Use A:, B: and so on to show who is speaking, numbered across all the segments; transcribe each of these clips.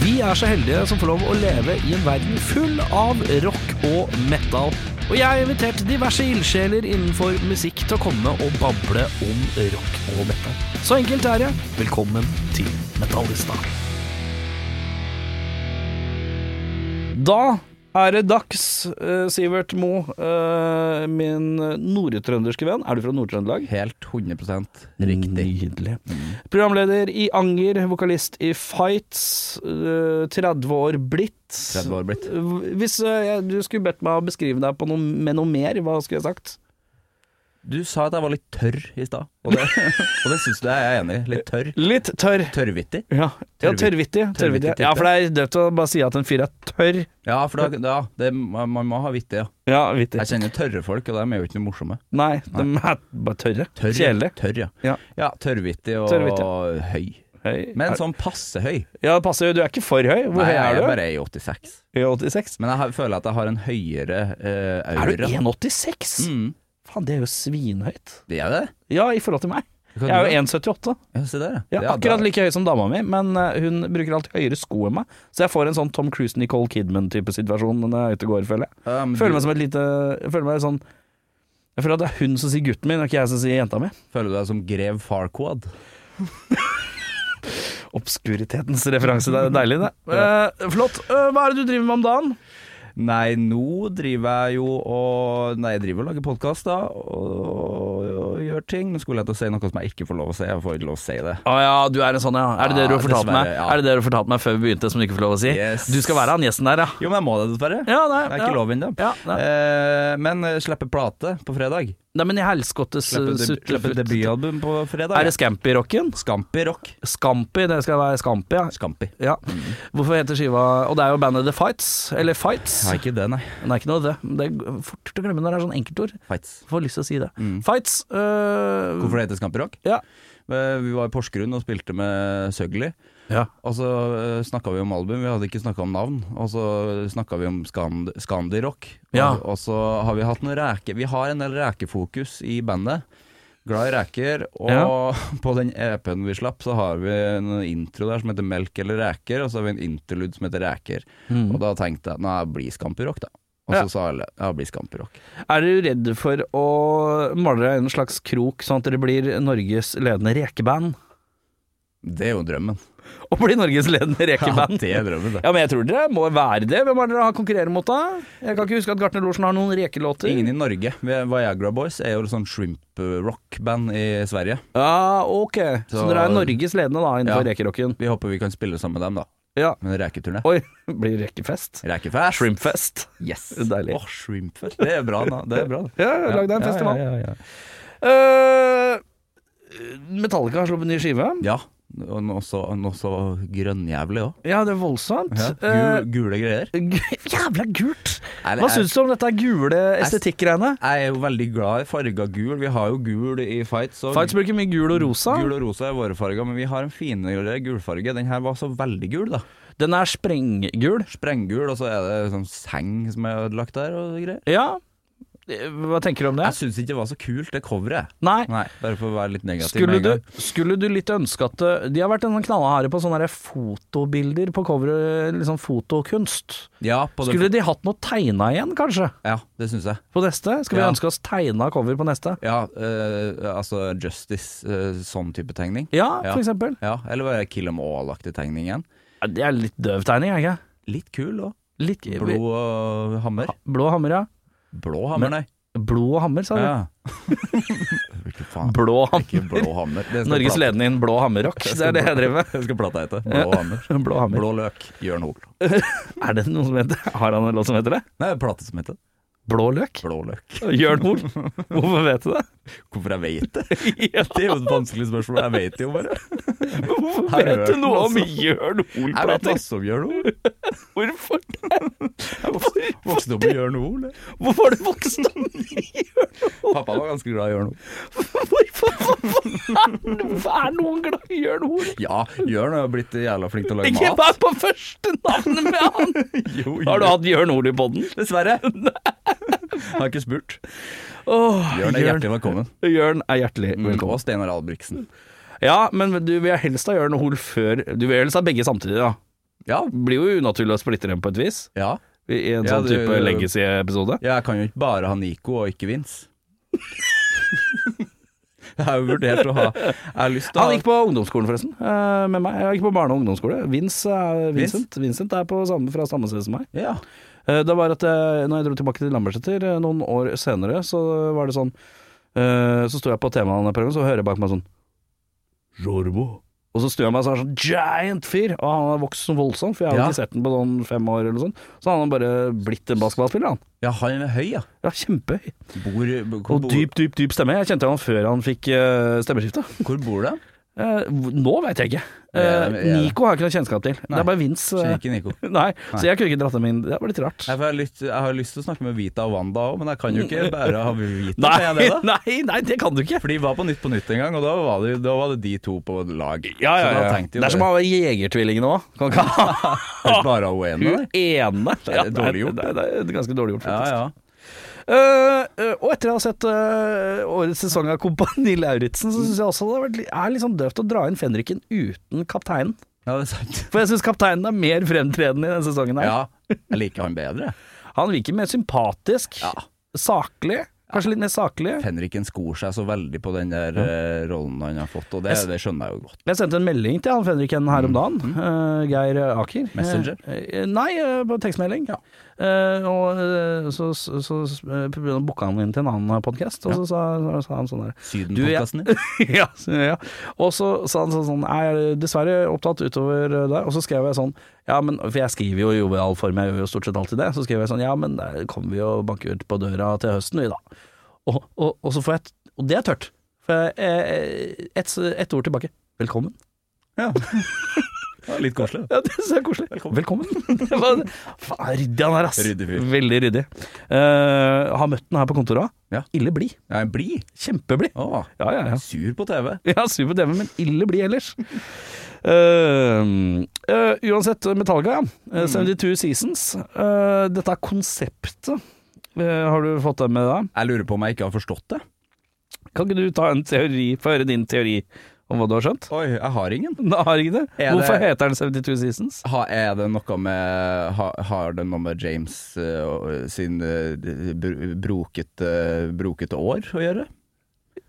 A: Vi er så heldige som får lov å leve i en verden full av rock og metal. Og jeg har invitert diverse ildsjeler innenfor musikk til å komme og bable om rock og metal. Så enkelt er det. Velkommen til Metallista. Da er det dags, eh, Sivert Mo, eh, min nordtrønderske venn. Er du fra Nord-Trøndelag?
B: Helt 100 riktig. Mm.
A: Nydelig. Programleder i Anger, vokalist i Fights, eh, 30 år blitt.
B: 30 år blitt.
A: Hvis eh, jeg- du skulle bedt meg å beskrive deg på noe, med noe mer, hva skulle jeg sagt?
B: Du sa at jeg var litt tørr i stad, og det, og det syns du jeg er enig i. Litt tørr.
A: Litt tørr.
B: Tørrvittig.
A: Ja, ja
B: Tørrvittig.
A: tørrvittig. tørrvittig.
B: Tørrvittig type.
A: Ja, for det er dødt å bare si at en fyr er tørr.
B: Ja, for da, ja, det, man man må ha vittig, ja.
A: Ja, vittig.
B: Jeg kjenner tørre folk, og dem er jo ikke noe morsomme.
A: Nei, de er bare tørre.
B: Tørr,
A: Kjedelig.
B: Tørr, ja.
A: Ja.
B: ja tørrvittig og
A: Tørrvittig.
B: høy.
A: Høy.
B: Men sånn passe høy.
A: Ja, det passer jo. Du er ikke for høy. Hvor
B: Nei,
A: høy
B: jeg
A: er du?
B: bare er i 86.
A: 1,86.
B: Men jeg har- føler at jeg har en høyere eh, aura.
A: Er du 1,86?
B: Mm.
A: Faen, det er jo svinhøyt.
B: Det er det.
A: Ja, i forhold til meg.
B: Hva
A: Jeg er
B: du
A: jo 1,78.
B: Ja, se der,
A: Ja,
B: Ja,
A: akkurat
B: da-
A: like høy som dama mi, men eh, hun bruker alltid høyere sko enn meg. Så jeg får en sånn Tom Cruise, Nicole Kidman-type situasjon når jeg er ute og går, føler jeg.
B: Ja, men
A: Jeg Føler
B: Um, du-
A: meg som et lite Jeg føler meg sånn Jeg føler at det er hun som sier gutten min, og ikke jeg som sier jenta mi.
B: Føler du deg som grev Farquad?
A: Obskuritetens referanse, det er deilig, det. Eh, flott. Eh, hva er det du driver med om dagen?
B: Nei, nå driver jeg jo og Nei, jeg driver og lager podkast, da. Og, og gjør ting. Nå skulle jeg til å si noe som jeg ikke får lov å si. Jeg får ikke lov å si det.
A: Å ja, du er en sånn, ja. Er det det du har
B: Ja,
A: fortalt meg?
B: dessverre, ja.
A: Er det det du fortalte meg før vi begynte, som du ikke får lov å si?
B: Yes.
A: Du skal være han gjesten der, ja.
B: Jo, men jeg må det, dessverre.
A: Ja, nei,
B: Det er ikke
A: ja.
B: lov ennå.
A: Ja, nei.
B: Eh, men eh, slipper plate på fredag.
A: Nei, men i helskottes
B: Slipper, deb slipper
A: Er
B: debutalbum på fredag.
A: det Scampi-rocken?
B: Scampi rock.
A: Scampi, det skal være Scampi, ja.
B: Scampi.
A: Ja. Hvorfor heter skiva Og det er jo bandet The Fights, eller Fights.
B: Nei, ikke det, nei.
A: Det er ikke noe det. Det er fort å glemme når det er sånn enkeltord.
B: Fights.
A: Får lyst til å si det. Fights øh,
B: Mm. Hvorfor det heter Scampi rock?
A: Ja.
B: Eh, Vi var i Porsgrunn og spilte med Søgli.
A: ja.
B: Og så snakka vi om album, vi hadde ikke snakka om navn. Og så snakka vi om skand Scandirock.
A: Ja.
B: Og, og så har vi hatt noen ræke Vi har en del rækefokus i bandet. Glad i ræker. Og
A: Ja.
B: på den EP-en vi slapp, så har vi en intro der som heter Melk eller ræker, og så har vi en interlude som heter Ræker. Og da tenkte jeg nei, jeg blir Scampirock, da. Og så
A: Mm. Ja.
B: sa alle ja, blir Scampirock.
A: Er dere redde for å male dere en slags krok, sånn at dere blir Norges ledende rekeband?
B: Det er jo drømmen.
A: Å bli Norges ledende rekeband?
B: det er drømmen, det.
A: Ja, men jeg tror dere må være det. Hvem er det dere har konkurrerer mot, da? Jeg kan ikke huske at Gartner Lorsen har noen rekelåter.
B: Ingen i Norge. Vi- Viagra Boys er jo sånn shrimp-rock-band i Sverige.
A: Ja, ok. Så,
B: Så-
A: dere er Norges ledende da innenfor
B: Ja.
A: rekerocken?
B: Vi håper vi kan spille sammen med dem, da.
A: Ja.
B: Men reketurné.
A: Oi, blir det rekefest?
B: Rekefest.
A: Shrimpfest.
B: Yes.
A: Deilig.
B: Åh, shrimpfest. Det er bra, da. Det er bra. da.
A: Ja, lag deg en
B: Ja,
A: festival.
B: Ja, ja, ja.
A: Eh, Metallica har sluppet en ny skive.
B: ja. Og noe så, noe så grønnjævlig òg.
A: Ja, det er voldsomt. Eh,
B: Gul, gule greier.
A: gu- jævla gult!
B: Eller,
A: Hva
B: jeg-
A: syns du om dette gule estetikkgreiene?
B: Jeg er jo veldig glad i farga gul. Vi har jo gul i fights. Og
A: Fights bruker mye gul og rosa.
B: Gul og rosa er våre farger, men vi har en finere gulfarge. Den her var så veldig gul, da.
A: Den er sprenggul.
B: Sprenggul, og så er det sånn seng som er ødelagt der og greier.
A: Ja. Eh, Hva tenker du om
B: Jeg
A: det?
B: syns ikke det var så kult, det coveret.
A: Nei.
B: Nei, bare for å være litt negativ.
A: Skulle
B: med en
A: du,
B: gang.
A: skulle du litt ønske at eh, De har vært en sånn knallharde på sånne der fotobilder på coveret, liksom fotokunst.
B: Ja, på det-
A: Skulle de hatt noe tegna igjen, kanskje?
B: Ja, det syns jeg.
A: På neste? Skal vi
B: Ja.
A: ønske oss tegna cover på neste?
B: Ja, eh, altså Justice, eh, sånn type tegning.
A: Ja,
B: Ja.
A: for eksempel.
B: Ja, Eller var det Kill 'em all-aktig tegning igjen?
A: Ja, Det er litt døv tegning, er det ikke?
B: Litt kul òg.
A: Litt
B: Blå og hammer.
A: Blå hammer, ja.
B: Blå hammer, nei.
A: Blå hammer, sa du.
B: Ja. Hvilken faen?
A: Blå hammer.
B: Ikke blå hammer. Det skal
A: Norges
B: plata-
A: ledende innen blå hammerrock. Det er det jeg driver med.
B: Det skal plata hete. Blå hammer.
A: Blå hammer.
B: Blå løk. Jørn Hoel.
A: Er det noe som heter Har han en låt som heter det?
B: Nei, plate som heter det.
A: Blå løk?
B: Blåløk.
A: Jørn Hoel. Hvorfor vet du det?
B: Hvorfor jeg vet det? Det er jo et vanskelig spørsmål. Jeg vet det jo bare.
A: Hvorfor
B: Har jeg
A: vet du
B: hørt
A: noe om
B: masse.
A: Jørn
B: Jeg vet
A: Hoel-plater?
B: masse om Jørn Hoel.
A: Hvorfor
B: Jeg vokste- vokste opp med Jørn Hoel. jeg.
A: Hvorfor har du vokst opp med Jørn Hoel?
B: Pappa var ganske glad i Jørn Hoel.
A: Hvorfor hvorfor er no- er noen glad i Jørn Hoel?
B: Ja, Jørn har blitt jævla flink til å lage
A: Ikke
B: mat.
A: vær på første navnet med han!
B: Jo,
A: Har du
B: Jørn.
A: hatt Jørn Hoel i podden?
B: Dessverre. Har ikke spurt.
A: Åh,
B: Jørn er hjertelig velkommen.
A: Jørn er hjertelig velkommen.
B: Og Steinar Albrigtsen.
A: Ja, men du vil helst ha Jørn Hoel før Du vil helst ha begge samtidig, da.
B: Ja.
A: Blir jo unaturlig å splitte dem på et vis.
B: ja.
A: I en
B: Ja,
A: sånn
B: du-
A: type legacy-episode.
B: Jeg kan jo ikke bare ha Nico og ikke Vince. Jeg har jo vurdert å ha Jeg har lyst til å
A: Han
B: ha
A: gikk på ungdomsskolen, forresten. eh, Med meg. Jeg gikk på barne- og ungdomsskole. Vince er
B: Vince?
A: Vincent. Vincent er på samme, fra samme sted som meg.
B: Ja.
A: Eh, Det var at jeg, når jeg dro tilbake til Lambertseter eh, noen år senere, så var det sånn eh, Så sto jeg på temaprøven, så hører jeg bak meg sånn Jorbo. Og så snur jeg meg og er sånn giant fyr, og han har vokst som voldsomt, for jeg har
B: Ja.
A: jo ikke sett den på sånn fem år eller noe sånt. Så han har bare blitt en basketballspiller, han.
B: ja, han er høy, ja.
A: Ja, kjempehøy.
B: Bor, hvor,
A: Og dyp, dyp, dyp stemme. Jeg kjente han før han fikk eh, stemmeskifte.
B: Bor, hvor bor du?
A: Eh, hvor- nå vet jeg ikke.
B: Nei,
A: Eh,
B: jeg- jeg-
A: Nico har jeg ikke noe kjennskap til. Det
B: Nei.
A: er bare Vince. eh,
B: Kjenner ikke Nico. Nei,
A: Nei, så jeg kunne ikke dratt dem inn. Det var litt rart.
B: for jeg, har lyst, jeg har lyst til å snakke med Vita og Wanda òg, men jeg kan jo ikke bare ha Vita. kan
A: Nei,
B: jeg det da?
A: nei, nei, det kan du ikke.
B: For de var på Nytt på Nytt en gang, og da var det, da var det de to på lag. Så da tenkte
A: Det
B: jo
A: er som å ha jegertvillingene òg. Kan ikke ha
B: Helt bare hun ene
A: hun
B: der.
A: ene.
B: Det er dårlig gjort.
A: Det er, det er, det er ganske dårlig gjort,
B: Ja,
A: faktisk.
B: ja.
A: Eh, eh, og etter jeg har sett eh, årets sesong av Kompani Lauritzen, så syns jeg også det har vært, li- er litt sånn døvt å dra inn fenriken uten kapteinen.
B: Ja, det er sant.
A: For jeg syns kapteinen er mer fremtredende i denne sesongen her.
B: Ja, jeg liker han bedre.
A: Han virker mer sympatisk,
B: Ja.
A: saklig. Kanskje litt mer saklig.
B: Henriken skor seg så veldig på den der eh, rollen han har fått, og det, det skjønner jeg jo godt.
A: Jeg sendte en melding til han Fenriken her om dagen, eh, Geir Aker.
B: Mm. Messenger?
A: Eh, eh, nei, eh, på tekstmelding.
B: Ja.
A: Eh, og eh, så, så, så, eh, booka han inn til en annen podkast, og så sa, sa han sånn der
B: Syden-podkasten din.
A: ja, så- ja. Og så sa han sånn, sånn Jeg er dessverre opptatt utover der. Og så skrev jeg sånn Ja, men For jeg skriver jo i jovial form, jeg gjør jo stort sett alltid det. Så skrev jeg sånn Ja, men der kommer vi jo banker ut på døra til høsten, vi da. Og, og, og så får jeg et- Og det er tørt. For jeg, eh, ett et ord tilbake. Velkommen.
B: Ja, Litt koselig. da.
A: Ja, det synes jeg er koselig. Velkommen. Det var- Faen, ryddig han er, ass.
B: Ryddig fyr.
A: Veldig ryddig. Eh, har møtt den her på kontoret òg.
B: Ja.
A: Ille blid.
B: Ja, en blid.
A: Kjempeblid.
B: Å,
A: Ja, ja, ja.
B: Sur på TV.
A: Ja, sur på TV, men ille blid ellers. Eh, eh, uansett, Metallica, ja. Eh, 72 Seasons. Eh, dette er konseptet. Eh, har du fått det med deg?
B: Jeg lurer på om jeg ikke har forstått det.
A: Kan ikke du ta en teori, få høre din teori om hva du har skjønt?
B: Oi, jeg har ingen.
A: Da har jeg ikke det.
B: Er det-
A: Hvorfor heter den 72 Seasons?
B: Ha, er det noe med ha, Har det noe med James eh, og- sin eh, br- brokete, brokete år å gjøre?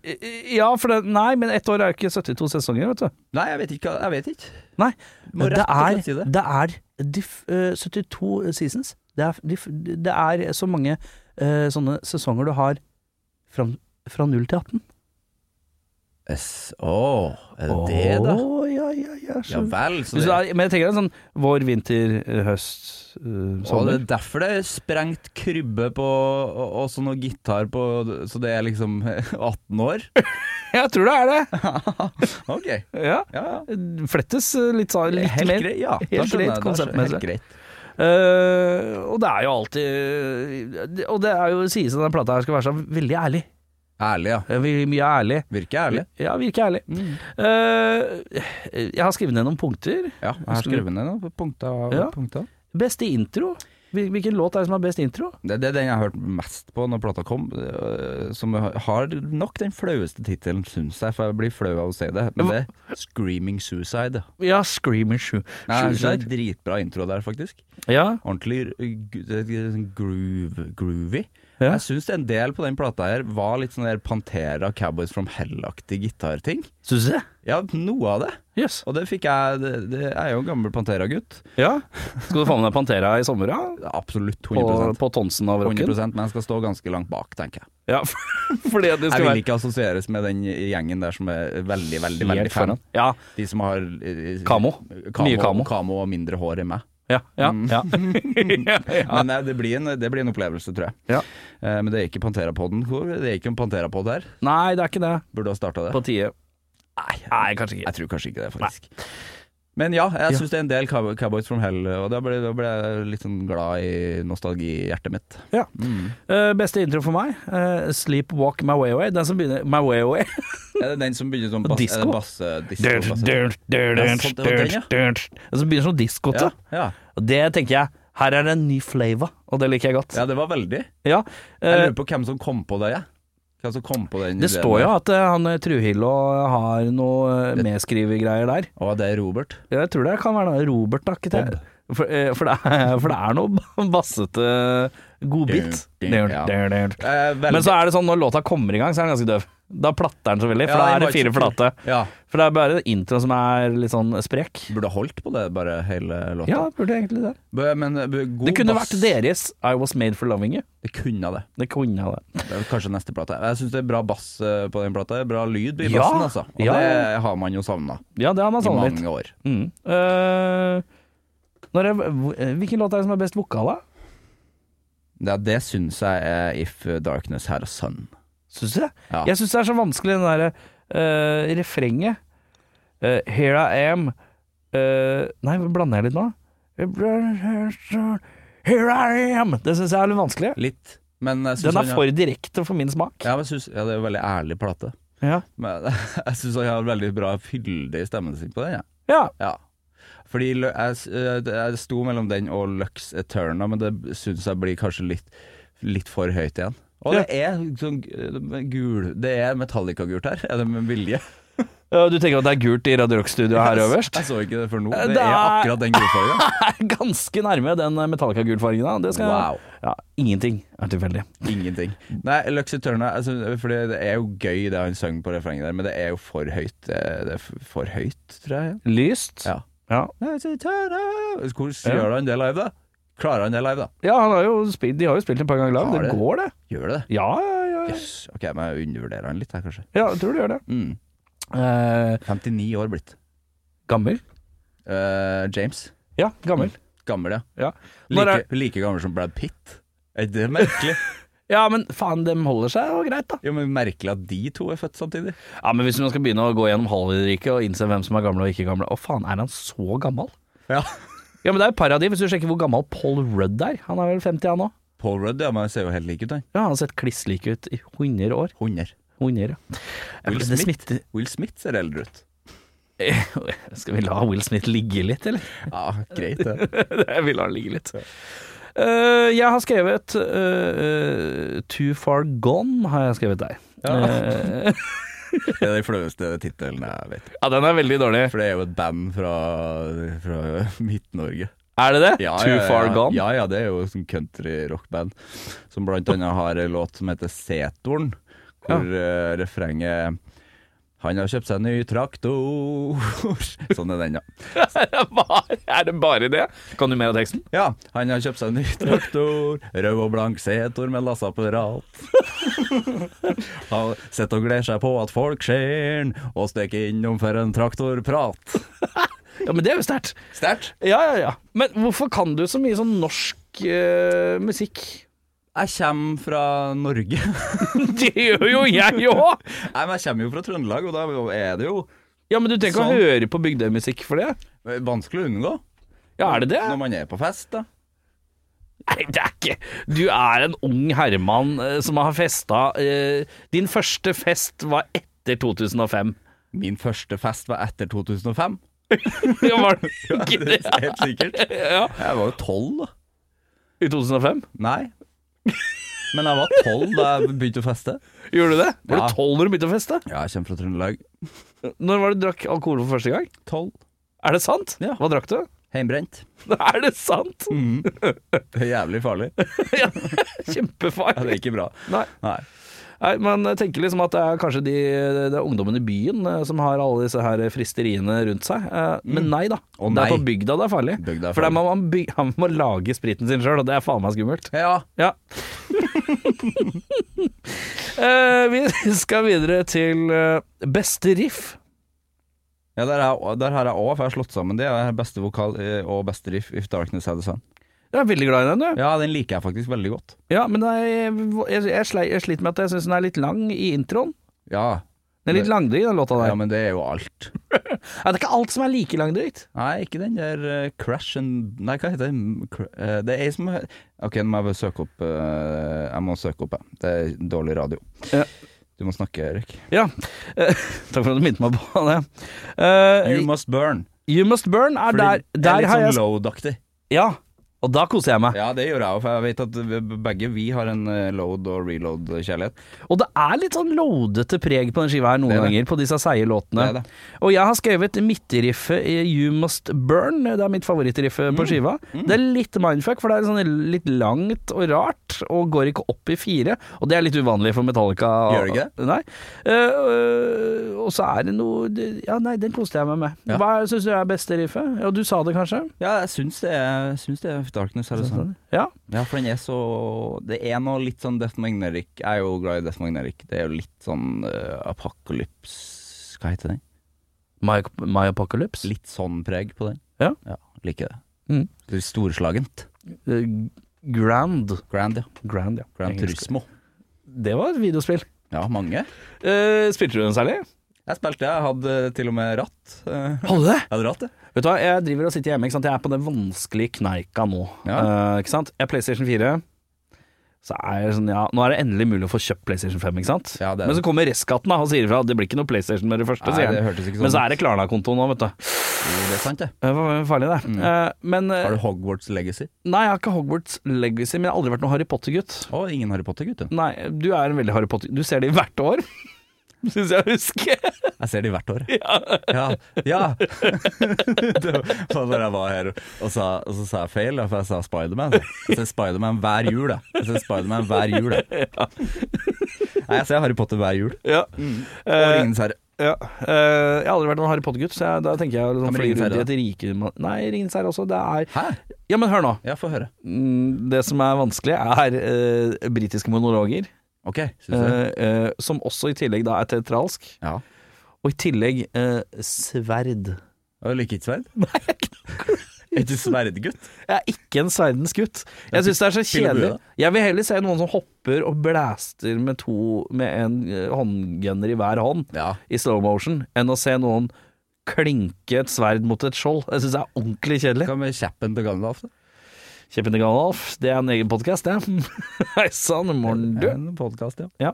A: Eh, eh, Ja, for det, nei, men ett år er jo ikke 72 sesonger, vet du.
B: Nei, jeg vet ikke. Jeg vet ikke.
A: Nei,
B: må
A: det
B: rett og
A: er,
B: slett si det.
A: det er de f- eh, 72 seasons. Det er, de, f- det er så mange eh, sånne sesonger du har fra, fra 0 til 18.
B: S å, er det det, da?
A: Å, ja, ja, ja. Så.
B: Ja vel. Så
A: Hvis
B: det,
A: du er, men jeg tenker en sånn vår, vinter, eh, høst, eh,
B: og det
A: sommer.
B: er derfor det er sprengt krybbe på og, og så noe gitar på Så det er liksom 18 år?
A: Jeg tror det er det.
B: OK.
A: Ja.
B: Ja, ja.
A: Flettes eh, litt, sa- litt
B: Helt
A: mer.
B: greit. Ja, da
A: Helt
B: skjønner
A: greit
B: jeg. Da skjønner jeg.
A: konseptmessig.
B: Helt greit.
A: Eh, og det er jo alltid eh, Og det er jo sies at den plata her skal være så veldig ærlig.
B: Ærlig, ja.
A: Eh, vi- Mye ærlig.
B: Virker ærlig.
A: Ja, virker ærlig. Eh, jeg har skrevet ned noen punkter.
B: Ja, jeg har skrevet ned noen punkter.
A: Ja.
B: punkter.
A: Beste intro? Hvil- Hvilken låt er det som har best intro?
B: Det, det er den jeg har hørt mest på når plata kom, øh, som har nok den flaueste tittelen, syns jeg, for jeg blir flau av å si det. Men det er 'Screaming Suicide'.
A: Ja, 'Screaming Shoe'.
B: Nei, jeg synes det er en dritbra intro der, faktisk.
A: Ja,
B: Ordentlig øh, gu- det er sånn groove, groovy.
A: Ja.
B: Jeg syns en del på den plata her var litt sånn der Pantera Cowboys from Hell-aktig gitarting.
A: syns du det?
B: Ja, noe av det.
A: Jøss.
B: Og det fikk jeg det, det, Jeg er jo en gammel Pantera-gutt.
A: Ja. Skal du få med deg Pantera i sommer, ja?
B: Absolutt
A: På,
B: 100
A: på Tonsen av rocken?
B: 100 men jeg skal stå ganske langt bak, tenker jeg.
A: Ja, for- fordi det
B: Jeg
A: skal
B: vil
A: være
B: ikke assosieres med den gjengen der som er veldig, veldig veldig
A: Helt
B: fan.
A: Ja.
B: De som har eh,
A: Kamo. Mye kamo.
B: og mindre hår enn meg.
A: Ja, ja,
B: Mm.
A: ja.
B: Men nei, det, blir en, det blir en opplevelse, tror jeg.
A: Ja.
B: Eh, men det er ikke Pantera-podden. Hvor- Det er ikke en Pantera-podd her.
A: Nei, det er ikke det.
B: Burde ha starta det.
A: På tide. Nei, nei kanskje ikke.
B: Jeg tror kanskje ikke det, faktisk. Men ja, jeg syns det er en del Cow- Cowboys from Hell, og da ble, da ble jeg litt sånn glad i nostalgihjertet mitt.
A: Ja.
B: Mm.
A: Eh, beste intro for meg, eh, 'Sleepwalk My Way Away'. Den som begynner My Way Away.
B: Er det den som begynner som bass,
A: Disco?
B: er det bass, eh, disco,
A: Dun,
B: bass-
A: dun, dun,
B: Ja,
A: dun,
B: sånn, det var
A: dun,
B: den, ja.
A: dun. Og så begynner det som diskote.
B: Ja, ja.
A: Og det tenker jeg Her er det en ny flavor, og det liker jeg godt.
B: ja, det var veldig.
A: Ja,
B: Jeg
A: eh,
B: lurer på hvem som kom på det, jeg. Hvem som kom på den
A: Det
B: ideen
A: står jo
B: der.
A: at eh, han eh, Truhillo har noe eh, medskrivergreier der.
B: Å, det er Robert.
A: Jeg tror det kan være noe Robert, da. Ikke det? For, eh, for, det er, for det er noe bassete eh, godbit.
B: Dun, dun, ja. Eh, veldig.
A: Men så er det sånn når låta kommer i gang, så er den ganske døv. Da platter den så veldig, for
B: Ja,
A: da
B: den
A: er det
B: var
A: fire
B: ikke så
A: flate.
B: kul. Ja.
A: For det er bare introen som er litt sånn sprek.
B: Burde holdt på det, bare hele låta.
A: Ja, burde egentlig det.
B: B- Men eh, b- god
A: Det kunne
B: bass.
A: vært deres I Was Made For Loving You.
B: Det kunne det.
A: Det kunne det.
B: Det er kanskje neste plate. Jeg syns det er bra bass eh, på den plata. Bra lyd i
A: Ja.
B: bassen, altså. Og
A: Ja.
B: det har man jo savna
A: Ja, det har man
B: i
A: savnet litt.
B: mange år.
A: Mm. Eh, når jeg, hvor- eh, hvilken låt er det som er best vokal, da?
B: Det, det syns jeg er If Darkness Had a Sun.
A: Syns du det?
B: Ja.
A: Jeg syns det er så vanskelig, den derre eh, refrenget. Eh, here I am eh, Nei, blander jeg litt nå? Here I am! Det syns jeg er litt vanskelig.
B: Litt. Men jeg syns
A: Den er
B: han har-
A: for direkte for min smak.
B: ja, men jeg synes, ja, det er en veldig ærlig plate.
A: Ja.
B: Men jeg syns han har veldig bra fylde i stemmen sin på den. Ja.
A: Ja.
B: Ja. Fordi lø- jeg, s- eh, det- jeg sto mellom den og Lux Eterna, men det syns jeg blir kanskje litt, litt for høyt igjen. Og det er sånn eh, gul Det er Metallica-gult her. Er det med vilje?
A: Eh, Du tenker at det er gult i Radio Rock-studioet her øverst?
B: Jeg så ikke det før nå.
A: Eh,
B: Det
A: det
B: er
A: er-
B: akkurat den gulfargen.
A: er ganske nærme den eh, Metallica-gulfargen. da. Det skal
B: Wow.
A: Ja, ingenting er tilfeldig.
B: Ingenting. Nei, Lux Eterna altså, Fordi det er jo gøy det han sang på refrenget der, men det er jo for høyt. Det er det er f- for høyt, tror jeg.
A: Lyst.
B: Ja.
A: Ja.
B: Lux Eterna Hvordan gjør han det live, da? Klarer han det live, da?
A: Ja, han har jo spilt, de har jo spilt en par ganger live.
B: Har
A: Det
B: det?
A: går, det.
B: Gjør det det?
A: Ja, ja, ja. ja.
B: Jøss. Ok, men jeg undervurderer han litt her, kanskje.
A: ja jeg tror du gjør det.
B: Mm.
A: Eh,
B: 59 år blitt.
A: gammel? Mm.
B: Eh, James.
A: Ja, gammel.
B: Gammel, ja.
A: Ja. Når
B: Like, like gammel som Brad Pitt. Er det merkelig?
A: ja, men faen, dem holder seg jo greit, da.
B: jo, men Merkelig at de to er født samtidig.
A: Ja, Men hvis man skal begynne å gå gjennom Hollywood-riket og innse hvem som er gamle og ikke gamle Å, faen, er han så gammel?
B: Ja.
A: Ja, men det er jo paradis hvis du sjekker hvor gammel Paul Rudd er. Han er vel 50 han òg?
B: Paul Rudd ja, men han ser jo helt lik ut, han.
A: Ja, han har sett kliss lik ut i 100 år.
B: 100.
A: 100, ja.
B: Will
A: Det
B: Smith?
A: smitter-
B: Will Smith ser eldre ut.
A: Skal vi la Will Smith ligge litt, eller?
B: Ja, greit det.
A: Jeg vil la han ligge litt. Eh, jeg har skrevet eh, eh, Too Far Gone, har jeg skrevet der.
B: Ja.
A: Eh,
B: Det er den flaueste tittelen jeg vet.
A: ja, den er veldig dårlig.
B: For det er jo et band fra, fra Midt-Norge.
A: Er det det?
B: Ja,
A: Too
B: ja, ja,
A: Far Gone?
B: Ja, ja, det er jo sånn country-rockband som blant annet har en låt som heter Setoren, hvor eh, refrenget han har kjøpt seg en ny traktor Sånn er den, ja.
A: er det bare det? Kan du mer av teksten?
B: Ja, han har kjøpt seg en ny traktor, rød og blank setor med lassapparat. Han sitter og gleder seg på at folk ser han, og stikker innom for en traktorprat.
A: Ja, men det er jo sterkt.
B: Sterkt.
A: Ja, ja, ja. Men hvorfor kan du så mye sånn norsk eh, musikk?
B: Jeg kommer fra Norge.
A: Det gjør jo jeg òg!
B: Nei, men jeg kommer jo fra Trøndelag, og da er det jo
A: Ja, men du trenger ikke å
B: Sånn.
A: høre på bygdemusikk for det.
B: vanskelig å unngå.
A: Ja, er det det?
B: Når man er på fest, da.
A: Nei, det er ikke Du er en ung herremann eh, som har festa eh, Din første fest var etter 2005.
B: Min første fest var etter 2005.
A: Ja, var det ikke
B: Det
A: det?
B: er helt sikkert.
A: Ja.
B: Jeg var jo tolv, da.
A: I 2005?
B: Nei. Men jeg var tolv da jeg begynte å feste.
A: Gjorde du det? Var
B: Ja.
A: du tolv når du begynte å feste?
B: Ja, jeg kommer fra Trøndelag.
A: Når var det du drakk alkohol for første gang?
B: Tolv.
A: Er det sant?
B: Ja. Mm.
A: Hva drakk du?
B: Heimbrent.
A: Er det sant?
B: Det er jævlig farlig.
A: Ja,
B: Ja, det
A: Kjempefarlig.
B: er ikke bra.
A: Nei.
B: Nei.
A: Nei, men jeg tenker liksom at det er kanskje de, det er ungdommen i byen eh, som har alle disse her fristeriene rundt seg. Eh, Men nei da.
B: Mm.
A: Det
B: Å,
A: er
B: nei.
A: på bygda det er farlig.
B: Bygda er
A: For der
B: farlig.
A: må man, by man må lage spriten sin sjøl, og det er faen meg skummelt.
B: Ja.
A: Ja. Eh, vi skal videre til eh, beste riff.
B: Ja, der, er, der har jeg òg, for jeg har slått sammen de. Jeg har beste vokal eh, og beste riff If Darkness Had a Sun.
A: Jeg er veldig glad i den, du.
B: Ja, den liker jeg faktisk veldig godt.
A: Ja, men jeg, jeg, jeg, slei- jeg sliter med at jeg syns den er litt lang i introen.
B: Ja,
A: Den er litt langdryg, den låta der.
B: ja men det er jo alt.
A: Ja, det er ikke alt som er like langdrygt.
B: Nei, ikke den der eh, Crash and Nei, hva heter den? Cra- eh, det er ei som he- Ok, nå må jeg bare søke opp eh, Jeg må søke opp, jeg. Det er dårlig radio.
A: Ja.
B: Du må snakke, Erik.
A: Ja. Eh, Takk for at du minnet meg på det. Eh,
B: You Must Burn.
A: you Must Burn er
B: Fordi
A: der,
B: det er
A: der
B: litt
A: har
B: sånn
A: jeg
B: load-aktig.
A: Ja, og da koser jeg meg.
B: Ja, det gjør jeg òg, for jeg vet at vi- begge vi har en eh, load og reload-kjærlighet.
A: Og det er litt sånn loadete preg på den skiva her noen
B: Det er det.
A: ganger, på disse seige låtene.
B: Det er det.
A: Og jeg har skrevet midtriffet i You Must Burn, det er mitt favorittriff
B: Mm.
A: på skiva. Det er litt mindfuck, for det er sånn litt langt og rart, og går ikke opp i fire. Og det er litt uvanlig for Metallica.
B: Gjør det ikke
A: Nei. Eh, øh, og så er det noe det- Ja, nei, den koste jeg meg med.
B: Ja.
A: Hva syns du er beste riffet? Ja, du sa det kanskje?
B: Ja, jeg syns det er, syns det er Darkness. Er det sant?
A: Sånn, Ja.
B: Ja, for den er så Det er noe litt sånn Death Magnetic. Jeg er jo glad i Death Magnetic. Det er jo litt sånn uh, apocalypse Hva heter den?
A: My, My Apocalypse?
B: Litt sånn preg på den.
A: Ja.
B: Liker det.
A: Mm.
B: Det er storslagent.
A: Eh, Grand.
B: Grand, ja.
A: Grand, ja.
B: Grand
A: Engelsk.
B: Turismo.
A: Det var et videospill. Eh,
B: Ja, mange.
A: spilte du den særlig?
B: Jeg spilte, jeg hadde til og med ratt. Eh,
A: Hadde det?
B: Jeg hadde ratt, jeg.
A: Vet du hva, jeg driver og sitter hjemme, ikke sant? jeg er på den vanskelige kneika nå.
B: Ja.
A: Eh, ikke sant? Jeg er PlayStation 4. Så er jeg sånn, ja, nå er det endelig mulig å få kjøpt PlayStation 5, ikke sant?
B: Ja, det er
A: Men
B: det.
A: så kommer restkatten da, og sier ifra at det blir ikke noe PlayStation med det første.
B: Nei,
A: sier
B: det
A: han.
B: hørtes ikke sånn
A: Men så er det Klarna-konto nå, vet du.
B: Jo, det er sant, det.
A: Det var farlig, det. Eh, men eh,
B: Mm. Har du Hogwarts Legacy?
A: Nei, jeg har ikke Hogwarts Legacy, men jeg har aldri vært noen Harry Potter-gutt.
B: Å, ingen Harry Potter, gutten.
A: Nei, du er en veldig Harry Potter Du ser det hvert år, syns jeg å huske.
B: Jeg ser de hvert år. Ja. ja. det var da jeg var her, og, sa, og så sa jeg feil, da, for jeg sa Spiderman. Jeg ser Spiderman hver jul, jeg. Jeg ser Spiderman hver jul, jeg. Nei, jeg ser Harry Potter hver jul.
A: Ja.
B: Og
A: Eh,
B: Ringenes herre.
A: Ja. eh, jeg har aldri vært noen Harry Potter-gutt, så jeg, da tenker jeg
B: Ja,
A: liksom,
B: men
A: fly
B: Ringenes
A: rundt i
B: Herre,
A: et rike man- Nei, Ringens herre også. Det er
B: Hæ?
A: Ja, men hør nå.
B: Ja, få høre.
A: Mm, Det som er vanskelig, er eh, britiske monologer,
B: Ok, syns du det?
A: eh, eh, som også i tillegg da er teatralsk.
B: Ja.
A: Og i tillegg eh, sverd.
B: Og liker ikke sverd? Nei, jeg er ikke sverdgutt.
A: Jeg er ikke en sverdens gutt. Jeg syns det er så
B: pil og bue,
A: kjedelig.
B: da.
A: Jeg vil heller se noen som hopper og blaster med to Med en eh, håndgunner i hver hånd.
B: Ja.
A: i slow motion enn å se noen klinke et sverd mot et skjold. Jeg syns det er ordentlig kjedelig.
B: Hva med kjeppen til Gandalf? da?
A: Kjeppen til Gandalf, det er en egen podkast, det. Hei sann, morgen du.
B: En podcast, ja.
A: Ja.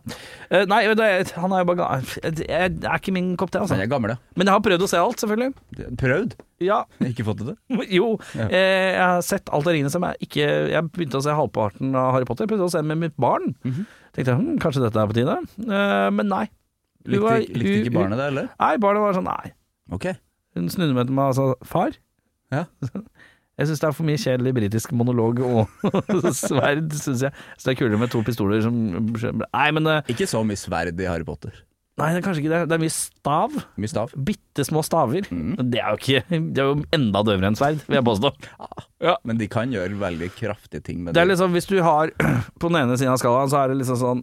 A: Eh, Nei, det, han er jo bare ga- Det er det er ikke min kopp te,
B: Han
A: altså.
B: er gammel, ja.
A: Men jeg har prøvd å se alt, selvfølgelig.
B: Prøvd?
A: Ja,
B: Ikke fått til det?
A: jo. eh, Jeg har sett alt av Ringenes som jeg ikke Jeg begynte å se halvparten av Harry Potter. Jeg prøvde å se den med mitt barn.
B: Mhm.
A: Tenkte jeg hm, kanskje dette er på tide. Eh, Men nei. Hun
B: Likte,
A: var-
B: likte
A: hun-
B: ikke barnet det, eller?
A: Nei, barnet var sånn nei.
B: Ok.
A: Hun snudde meg til meg og sa far.
B: Ja.
A: Jeg syns det er for mye kjedelig britisk monolog og sverd, syns jeg. Så det er kulere med to pistoler som Nei, men eh,
B: Ikke så mye sverd i Harry Potter.
A: Nei, det er kanskje ikke det. Det er mye stav.
B: Mye stav.
A: Bitte små staver.
B: Mm.
A: Det er jo ikke Det er jo enda døvere enn sverd, vil jeg påstå.
B: Men de kan gjøre veldig kraftige ting med
A: Det er
B: det.
A: liksom, hvis du har På den ene siden av skalaen, så er det liksom sånn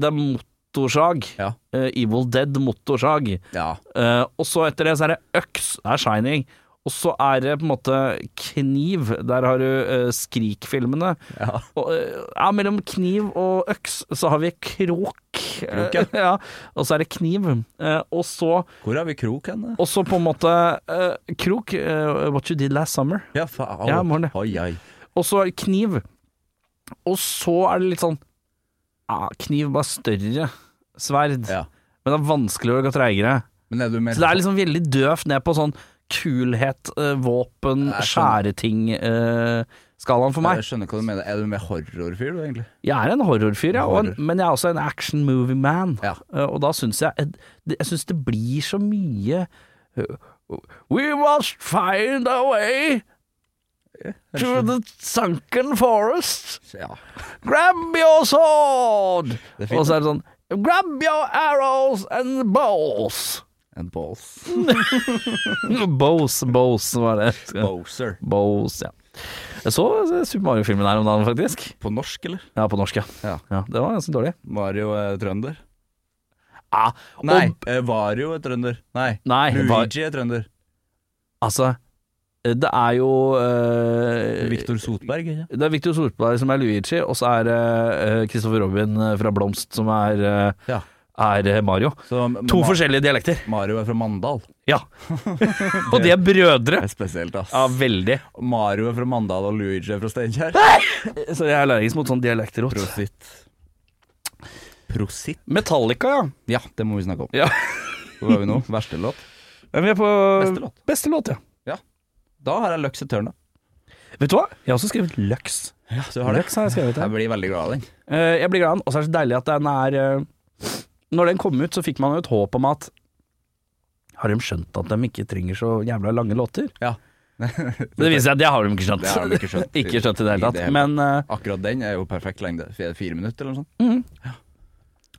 A: Det er motorsag.
B: Ja.
A: Eh, Evil Dead motorsag.
B: Ja.
A: Eh, og så etter det så er det øks, det er Shining. Og så er det på en måte kniv, der har du eh, Skrik-filmene.
B: Ja.
A: Og, eh, ja, mellom kniv og øks så har vi krok.
B: Krok, ja.
A: Eh, ja. Og så er det kniv. Eh, og, så,
B: Hvor har vi krok hen? da?
A: og så på en måte eh, krok, eh, What You Did Last Summer.
B: Ja, faen.
A: Ja, morgen, ja.
B: oi, oi.
A: Og så er det kniv. Og så er det litt sånn ja, Kniv bare større sverd.
B: Ja.
A: Men det er vanskeligere og det går treigere.
B: Men er du mer
A: Så det er liksom veldig døvt ned på sånn kulhet, eh, våpen,
B: Jeg skjønner.
A: skjæreting-skalaen sånn for meg.
B: Jeg skjønner hva du mener. Er du mer horrorfyr, du, egentlig?
A: Jeg er en horrorfyr, ja, og en,
B: Horror.
A: men jeg er også en action movie man.
B: Ja.
A: Eh, Og da syns jeg Jeg syns det blir så mye eh, We must find a way to the sunken forest.
B: Ja.
A: Grab your sword!
B: Det er fint,
A: Og så er det sånn Grab your arrows and bows.
B: En balls.
A: bows, bows, var det.
B: Bowser.
A: Bows, ja. Jeg så eh, Super Mario-filmen her om dagen, faktisk.
B: På norsk, eller?
A: Ja, på norsk, ja.
B: Ja.
A: Det var ganske dårlig.
B: Mario er trønder.
A: ah,
B: eh, Nei,
A: Og,
B: eh, Vario er trønder. Nei,
A: Nei, var-
B: Luigi er trønder.
A: altså, det er jo eh,
B: Viktor Sotberg, ikke
A: Det er Victor Sortberg som er Luigi, og så er det Kristoffer Robin eh, fra Blomst som er, eh,
B: Ja.
A: er eh, Mario.
B: Så,
A: To
B: Ma-
A: forskjellige dialekter.
B: Mario er fra Mandal.
A: Ja. og de er brødre.
B: Det er spesielt, ass.
A: Ja, veldig.
B: Mario er fra Mandal, og Luigi er fra Steinkjer.
A: Eh, Så jeg er allergisk mot sånn dialektrot.
B: Prosit. Prosit?
A: Metallica, ja.
B: Ja, det må vi snakke om.
A: Ja.
B: Hvor var vi nå? Verste låt?
A: Men vi er på
B: Beste låt.
A: Eh, Beste låt, ja.
B: Da har jeg Luxe Tørna.
A: Vet du hva? Jeg har også skrevet Lux.
B: Ja, så
A: Lux har jeg skrevet ja.
B: Jeg blir veldig glad av den.
A: Eh, Jeg blir glad, av den, og så er det så deilig at den er eh, Når den kom ut, så fikk man jo et håp om at Har de skjønt at de ikke trenger så jævla lange låter?
B: Ja.
A: Men det viser seg at det har de ikke skjønt.
B: Det har de ikke skjønt.
A: ikke skjønt i det
B: I
A: hele
B: det
A: tatt.
B: hele
A: Men
B: Akkurat den er jo perfekt lengde. Fire fire minutter eller noe sånt.
A: eh,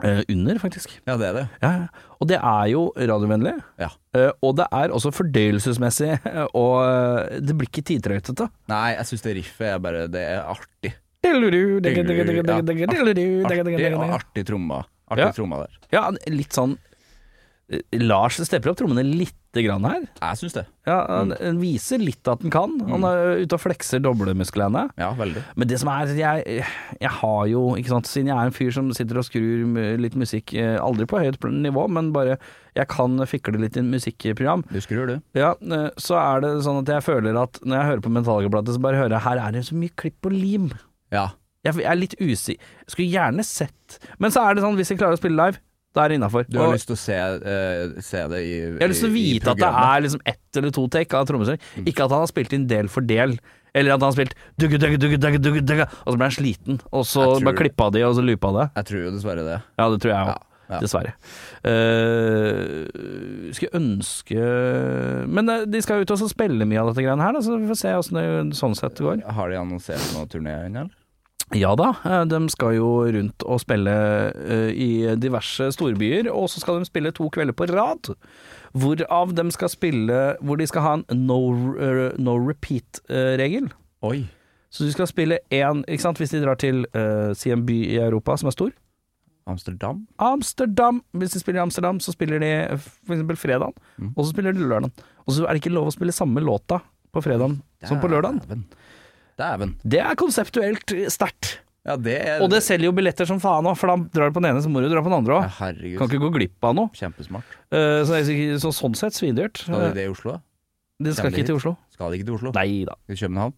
A: eh, under, faktisk.
B: Ja, det er det.
A: Ja, ja. og det er jo radiovennlig.
B: Ja.
A: eh, og det er også fordøyelsesmessig, og eh, det blir ikke tidtrøytete.
B: Nei, jeg syns det riffet er bare Det er artig. Ja. Artig og
A: Ja,
B: artig tromma.
A: Ja.
B: Artig tromma der.
A: litt sånn eh, Lars stepper opp trommene lite grann her.
B: Jeg syns det.
A: Ja, han han viser litt at han kan. Han er ute og flekser doblemusklene.
B: Ja, veldig.
A: Men det som er, jeg, jeg har jo, ikke sant, siden jeg er en fyr som sitter og skrur m- litt musikk, eh, aldri på høyt pl- nivå, men bare jeg kan fikle litt i musikkprogram,
B: Du skrur, du.
A: ja, eh, så er det sånn at jeg føler at når jeg hører på Metallica-plate, så bare hører jeg her er det så mye klipp og lim.
B: Ja.
A: Jeg, jeg er litt usikker. Skulle gjerne sett. Men så er det sånn, hvis jeg klarer å spille live, da er det innafor.
B: Du har lyst til å se, eh, se det i
A: Jeg har lyst til å vite at det er liksom ett eller to take av trommesang. Ikke at han har spilt inn del for del. Eller at han har spilt dugge, dugge, dugge, dugge, dugge, dugge, og så ble han sliten, og så
B: Jeg tror-
A: bare klippa de, og så loopa det.
B: Jeg tror jo dessverre det.
A: Ja, det tror jeg òg.
B: Ja, ja.
A: Dessverre. Eh, skulle ønske Men eh, de skal jo ut og så spille mye av dette greiene her, da, så vi får se åssen det sånn sett går.
B: Har de annonsert noen turné ennå, eller?
A: Ja da, eh, de skal jo rundt og spille eh, i diverse storbyer, og så skal de spille to kvelder på rad. Hvorav de skal spille Hvor de skal ha en no, eh, no repeat-regel.
B: Oi.
A: Så du skal spille én Ikke sant, hvis de drar til eh, si en by i Europa som er stor.
B: Amsterdam?
A: Amsterdam! Hvis de spiller i Amsterdam, så spiller de eh, for eksempel fredagen, og så spiller de lørdagen. Og så er det ikke lov å spille samme låta på fredagen som på lørdagen.
B: Dæven. Dæven.
A: Det er konseptuelt eh, sterkt.
B: Ja, det er
A: Og det selger jo billetter som faen òg, for da drar du på den ene, så må du dra på den andre
B: Ja,
A: òg.
B: Herregud.
A: Kan ikke gå glipp av noe.
B: Kjempesmart.
A: Eh, Så, det er sikkert- så sånn sett svindyrt.
B: Skal de
A: Eh,
B: det i Oslo? da?
A: Det skal
B: Jævlig
A: ikke til Oslo.
B: Skal de ikke til Oslo?
A: Nei da.
B: Skal de til København?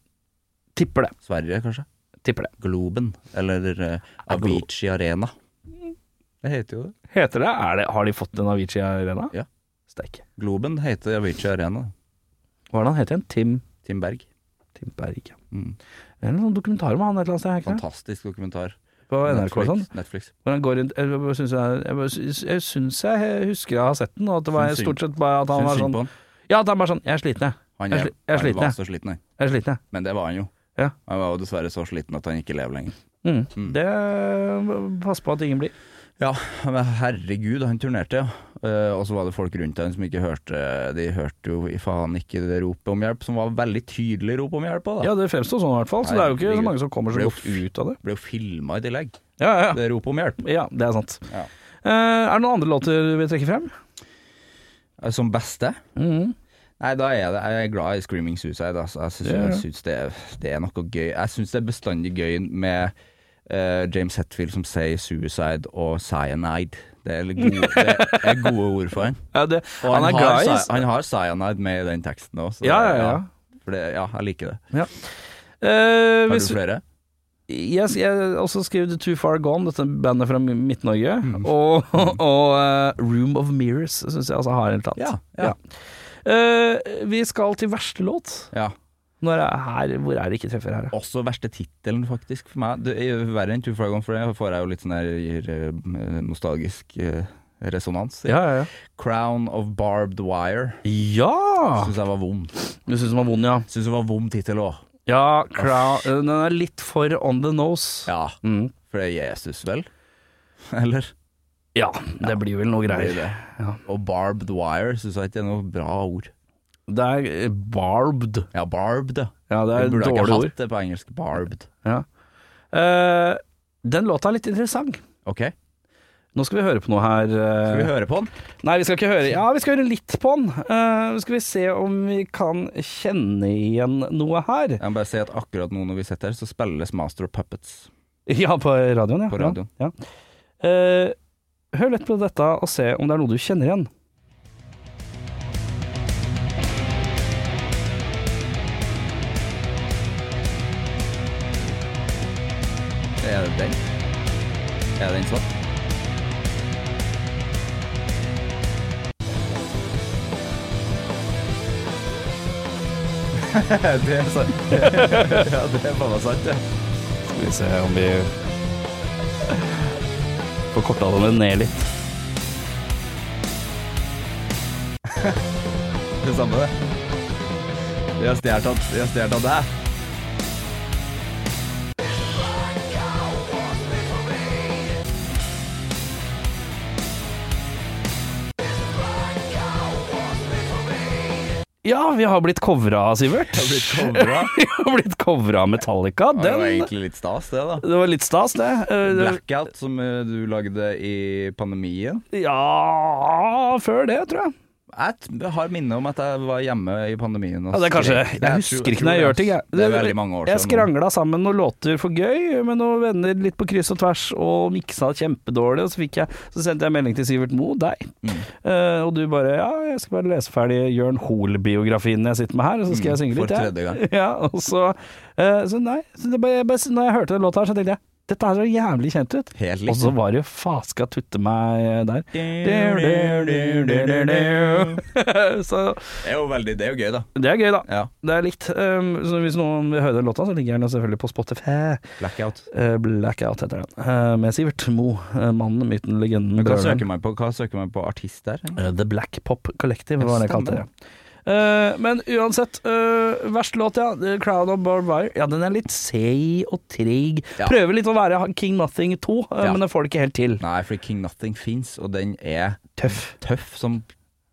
A: Tipper det.
B: Sverige, kanskje?
A: Tipper det.
B: Globen? Eller eh, Avicii Arena? Det heter jo det.
A: Heter det? Er det har de fått en Avicii Arena?
B: Ja.
A: Steike.
B: Globen heter Avicii Arena.
A: Hva er det han heter igjen? Tim
B: Tim Berg.
A: Tim Berg, ja.
B: Mm.
A: Det er en sånn dokumentar om han et eller annet sted, er det ikke det?
B: Fantastisk dokumentar.
A: På NRK og sånn.
B: Netflix.
A: Hvor han går rundt Jeg bare syns jeg, jeg, bare syns- jeg, syns jeg husker jeg har sett den, og at det var
B: Syns synd.
A: stort sett bare at han
B: Syns
A: var
B: synd
A: sånn
B: på han.
A: Ja, at han bare sånn Jeg er sliten, jeg.
B: Han
A: Jeg
B: er,
A: er sli- jeg er sliten,
B: han
A: jeg.
B: var så sliten, han.
A: Jeg er sliten, jeg.
B: Men det var han jo.
A: Ja.
B: Han var jo dessverre så sliten at han ikke lever lenger.
A: Mm. Det Pass på at ingen blir.
B: Ja, men herregud, han turnerte, ja. Eh, og så var det folk rundt han som ikke hørte De hørte jo i faen ikke det ropet om hjelp, som var veldig tydelig rop om hjelp òg, da.
A: Ja, det fremstår sånn i hvert fall, så det er jo ikke så mange som kommer så
B: Herregud.
A: godt ut av det.
B: Ble jo filma i tillegg,
A: Ja, ja, ja.
B: det ropet om hjelp.
A: Ja, det er sant.
B: Ja.
A: Eh, er det noen andre låter du vil trekke frem?
B: Eh, Som beste? Mm. Nei, da er det, jeg er glad i Screaming Suicide. Altså. Jeg syns,
A: Ja, ja.
B: jeg syns det, er- det er noe gøy. Jeg syns det er bestandig gøy med eh, James Hetfield som sier suicide og cyanide. Det er gode, det er gode ord for han.
A: Ja, det,
B: Og
A: han, er glad i
B: har, cy- han har cyanide med i den teksten òg, så
A: Ja, ja, ja.
B: For det, altså, ja, jeg liker det.
A: Eh,
B: Har
A: hvis,
B: du flere?
A: yes, jeg har også skrevet Too Far Gone, dette bandet fra Midt-Norge.
B: Mm.
A: Og, og eh, Room of Mirrors syns jeg altså har helt tatt.
B: Ja, ja.
A: Eh, vi skal til verste låt.
B: Ja.
A: Når er her, hvor er det ikke treffer her? da?
B: Også verste tittelen, faktisk, for meg. Det er jo verre enn Two Far Gone, for det får jeg jo litt sånn her gir, eh, nostalgisk eh, resonans. i.
A: Ja, ja, ja.
B: Crown of Barbed Wire.
A: ja!
B: Syns jeg var vond.
A: Du syns den var vond, ja.
B: Syns det var vond tittel òg.
A: Ja, Crow, eh, den er litt for on the nose.
B: Ja,
A: Mm.
B: for det er Jesus, vel? Eller?
A: ja det blir vel noe
B: Det er
A: greier.
B: det.
A: Ja.
B: Og barbed wire syns jeg ikke er noe bra ord.
A: Det er eh, barbed.
B: Ja, barbed. ja.
A: Ja, det er
B: Vi burde ikke
A: dårlig ord.
B: hatt det på engelsk. Barbed.
A: Ja. Eh, den låta er litt interessant.
B: Ok?
A: Nå skal vi høre på noe her. eh,
B: Skal vi høre på den?
A: Nei, vi skal ikke høre. Ja, vi skal høre litt på den. Eh, Nå skal vi se om vi kan kjenne igjen noe her.
B: Jeg må bare si at akkurat nå når vi sitter her, så spilles Master of Puppets.
A: Ja, på radioen, ja.
B: På radioen.
A: Ja. ja. Eh, hør litt på dette og se om det er noe du kjenner igjen.
B: Er det den? Er det den sånn? det er sant. ja, det er bare sant, det.
A: Skal vi se om vi får korta den ned litt.
B: Det er samme, det. Vi har stjålet av- vi har stjålet av deg.
A: Ja, vi har blitt covra, Sivert.
B: Det har blitt kobra.
A: Vi har blitt covra av Metallica.
B: Det var
A: Den
B: egentlig litt stas, det, da.
A: Det var litt stas, det. Eh, det-
B: Blackout, som eh, du lagde i pandemien.
A: Ja Før det, tror jeg.
B: Jeg t- har minne om at jeg var hjemme i pandemien. og
A: Ja, det er kanskje,
B: skrek.
A: jeg
B: tror-
A: husker ikke når jeg
B: tror
A: gjør ting. Jeg,
B: Det er veldig mange år
A: jeg
B: siden. nå.
A: skrangla sammen noen låter for gøy med noen venner litt på kryss og tvers, og miksa det kjempedårlig. Og så, fikk jeg, så sendte jeg melding til Sivert Moe, deg,
B: Mm.
A: Eh, og du bare Ja, jeg skal bare lese ferdig Jørn Hoel-biografien jeg sitter med her, og så skal jeg synge
B: Mm. for
A: litt, jeg.
B: tredje gang.
A: Ja, og så, eh, så nei. Så det bare, jeg bare, når jeg hørte den låta her, så tenkte jeg dette her så jævlig kjent ut.
B: Helt liksom.
A: Og så
B: likt.
A: var det jo faska tutte meg der. så
B: Det er jo veldig Det er jo gøy, da.
A: det er gøy, da.
B: Ja.
A: Det er likt. Um, så hvis noen vil høre den låta, så ligger den selvfølgelig på Spotify.
B: Blackout.
A: Eh, Blackout heter den. Eh, med Sivert Mo, eh, mannen, myten, legenden,
B: Hva
A: brøleren.
B: søker man på, hva søker man på artist der?
A: Eh, The Black Pop Collective, var det jeg kalte det.
B: Stemmer.
A: Eh, men uansett, eh, verst låt, ja. The Crown of Barbed Wire. Ja, den er litt seig og treig.
B: Ja.
A: Prøver litt å være King Nothing 2, eh,
B: Ja.
A: men det får det ikke helt til.
B: Nei, for King Nothing fins, og den er
A: Tøff.
B: tøff som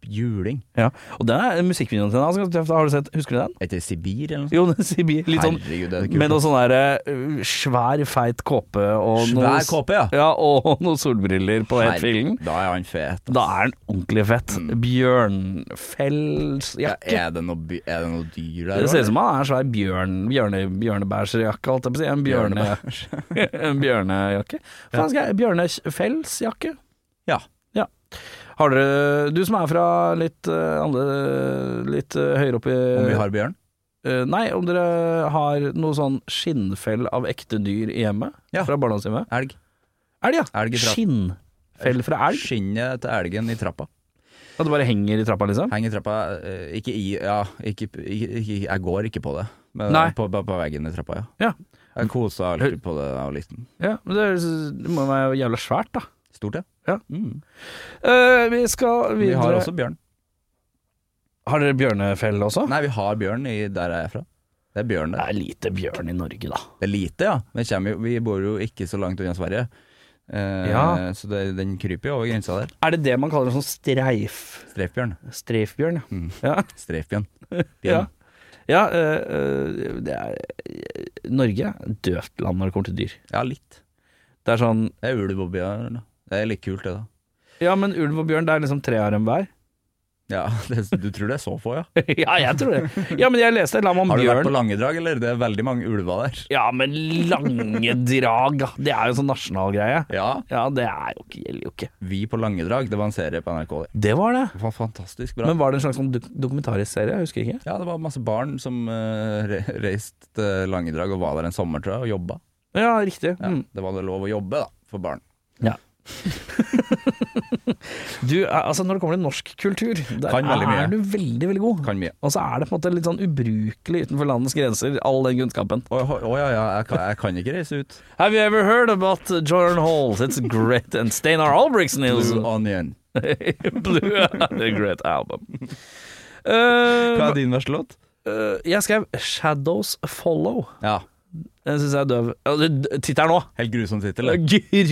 B: juling.
A: Ja. Og den er musikkvideoen til den er ganske tøff. da. Har du sett, husker du den?
B: Er det Sibir, eller noe sånt?
A: Jo, den sier bi- litt sånn
B: Herregud, det er kult.
A: Med noe sånn der eh, svær, feit kåpe og noe
B: Svær kåpe, ja.
A: Ja, og noen solbriller på
B: Herregud,
A: helt fillen.
B: Da er han fet.
A: Da er den ordentlig fett.
B: Mm. Ja,
A: Bjørnfellsjakke.
B: er, det noe, by- er det noe dyr der?
A: Det ser ut som han er en svær bjørn, bjørne, bjørnebærsjakke, holdt jeg på å si. En, bjørne, en bjørnejakke. Faen skal jeg Bjørnefellsjakke?
B: Ja.
A: ja. Har dere Du som er fra litt eh, andre Litt eh, høyere opp i
B: Om vi har bjørn?
A: Eh, nei, om dere har noe sånn skinnfell av ekte dyr i hjemmet?
B: Ja.
A: Fra barndomshjemmet?
B: Elg.
A: Elg, ja!
B: Elg i trapp.
A: Skinnfell fra elg?
B: Skinnet til elgen i trappa.
A: At det bare henger i trappa, liksom?
B: Heng i trappa eh, Ikke i Ja, ikke, ikke, ikke, jeg går ikke på det. Men
A: Nei.
B: På, på, på veggen i trappa, ja.
A: Ja.
B: Jeg kosa alltid på det da jeg var liten.
A: ja men det, det må være jævla svært, da.
B: Stort, ja.
A: Ja.
B: Mm.
A: Eh, vi skal
B: Vi
A: videre
B: har også bjørn.
A: Har dere bjørnefell også?
B: Nei, vi har bjørn i, der jeg er fra. Det er bjørn
A: Det
B: der.
A: er lite bjørn i Norge, da.
B: Det er lite, ja. Men det kommer jo, vi bor jo ikke så langt unna Sverige. Eh,
A: Ja.
B: Så det, den kryper jo over grensa der.
A: Er det det man kaller en sånn streif...
B: Streifbjørn.
A: Streifbjørn, ja.
B: Mm.
A: Ja,
B: Streifbjørn.
A: ja.
B: Bjørn.
A: ja eh, eh, det er Norge er døvt land når det kommer til dyr.
B: ja, litt.
A: Det er sånn
B: Det er ulv og bjørn. da. Det er litt kult, det, da.
A: Ja, men ulv og bjørn, det er liksom tre av dem hver.
B: Ja, det, Du tror det er så få, ja?
A: ja, jeg tror det. Ja, men jeg leste et eller annet om
B: Har du vært
A: bjørn.
B: på Langedrag, eller? Det er veldig mange ulver der.
A: Ja, men lange drag, da. det er jo sånn nasjonal greie.
B: Ja,
A: Ja, det er jo ikke, gjelder jo ikke.
B: Vi på Langedrag, det var en serie på NRK. Det
A: Det var det.
B: Det var fantastisk bra.
A: Men var det en slags sånn dok dokumentarisk serie? Jeg husker ikke.
B: ja, det var masse barn som eh, re- reiste til Langedrag og var der en sommer, tror jeg, og jobba.
A: Ja, riktig.
B: Ja,
A: Mm.
B: Det var det lov å jobbe, da, for barn.
A: Du, altså Når det kommer til norsk kultur, der
B: Kan veldig mye.
A: er du veldig veldig god.
B: Kan mye.
A: Og så er det på en måte litt sånn ubrukelig utenfor landets grenser, all den kunnskapen.
B: Å å, å, ja, ja, jeg kan, jeg kan ikke reise ut.
A: Have you ever heard about Jordan Hall? It's great and Steinar Albrigtsen is
B: Blue Onion.
A: Blue and a great album. Eh,
B: Hva er din verste låt?
A: eh, jeg skrev 'Shadows Follow'.
B: Ja,
A: Den syns jeg er døv. Ja, det- det- Tittelen nå!
B: helt grusom tittel. det.
A: Grusom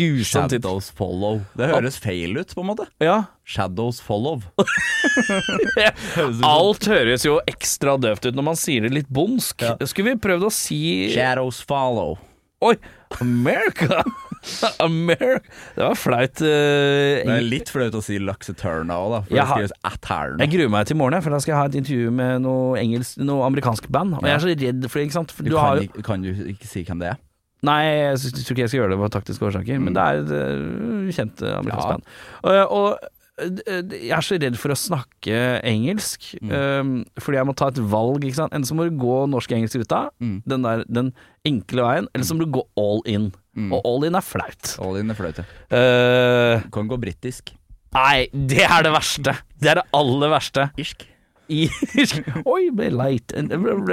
A: tittel.
B: Shadows Follow. Det høres feil ut, på en måte.
A: Ja.
B: Shadows Follow.
A: Alt høres jo ekstra døvt ut når man sier det litt bondsk. Skulle vi prøvd å si
B: Shadows Follow.
A: Oi! America! America! Det var flaut. eh,
B: Det er litt flaut å si laksetørna òg, da. For
A: Jeg
B: det
A: har-
B: skrives atterna.
A: Jeg gruer meg til i morgen, jeg, for da skal jeg ha et intervju med noe, engelsk, noe amerikansk band. Og jeg er så redd for det, ikke sant. For
B: Du
A: du har jo
B: kan, ikke- kan du ikke si hvem det er?
A: Nei, jeg sy- tror ikke jeg skal gjøre det av taktiske årsaker, men det er et øh, kjent øh, amerikansk
B: Mm. Ja.
A: band. Øh, og øh, d- jeg er så redd for å snakke engelsk,
B: Mm.
A: øh, fordi jeg må ta et valg. Ikke sant? Enten så må du gå norsk-engelsk-ruta,
B: Mm.
A: den, der- den enkle veien, eller så må du gå all in.
B: Mm.
A: Og all in er flaut.
B: All in er flaut, ja.
A: Eh,
B: Du Kan gå britisk.
A: nei, det er det verste. Det er det aller verste.
B: Irsk.
A: Irsk. Oi, ble leit.
B: Det hadde vært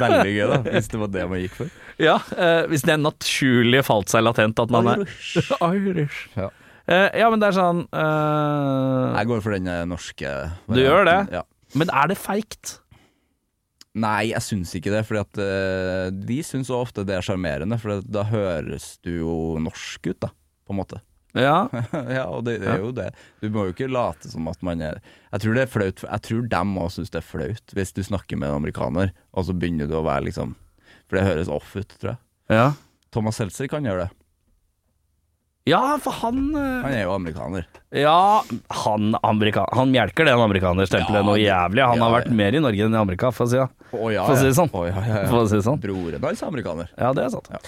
B: veldig gøy, da. Hvis det var det man gikk for.
A: Ja, eh, hvis den naturlige falt seg latent at man er Irish.
B: Ja.
A: Eh, ja, men det er sånn eh,
B: Jeg går for den eh, norske.
A: Du gjør det?
B: Ja.
A: Men er det feigt?
B: Nei, jeg syns ikke det. For de syns så ofte det er sjarmerende, for da høres du jo norsk ut, da. På en måte.
A: Ja.
B: ja, og det, det er jo det. Du må jo ikke late som at man er Jeg tror det er flaut for- Jeg tror dem òg syns det er flaut, hvis du snakker med en amerikaner, og så begynner du å være liksom For det høres off ut, tror jeg.
A: ja.
B: Thomas Seltzer kan gjøre det.
A: Ja, for han eh,
B: Han er jo amerikaner.
A: Ja, han, amerika han mjelker den amerikanerstempelet
B: Ja,
A: noe jævlig. Han
B: ja,
A: har vært
B: ja.
A: mer i Norge enn i Amerika, for å si, ja.
B: Å ja,
A: For å si det sånn.
B: Å, ja, ja,
A: For
B: ja.
A: å si det sånn.
B: Broren hans er amerikaner.
A: Ja, det er sant.
B: Ja.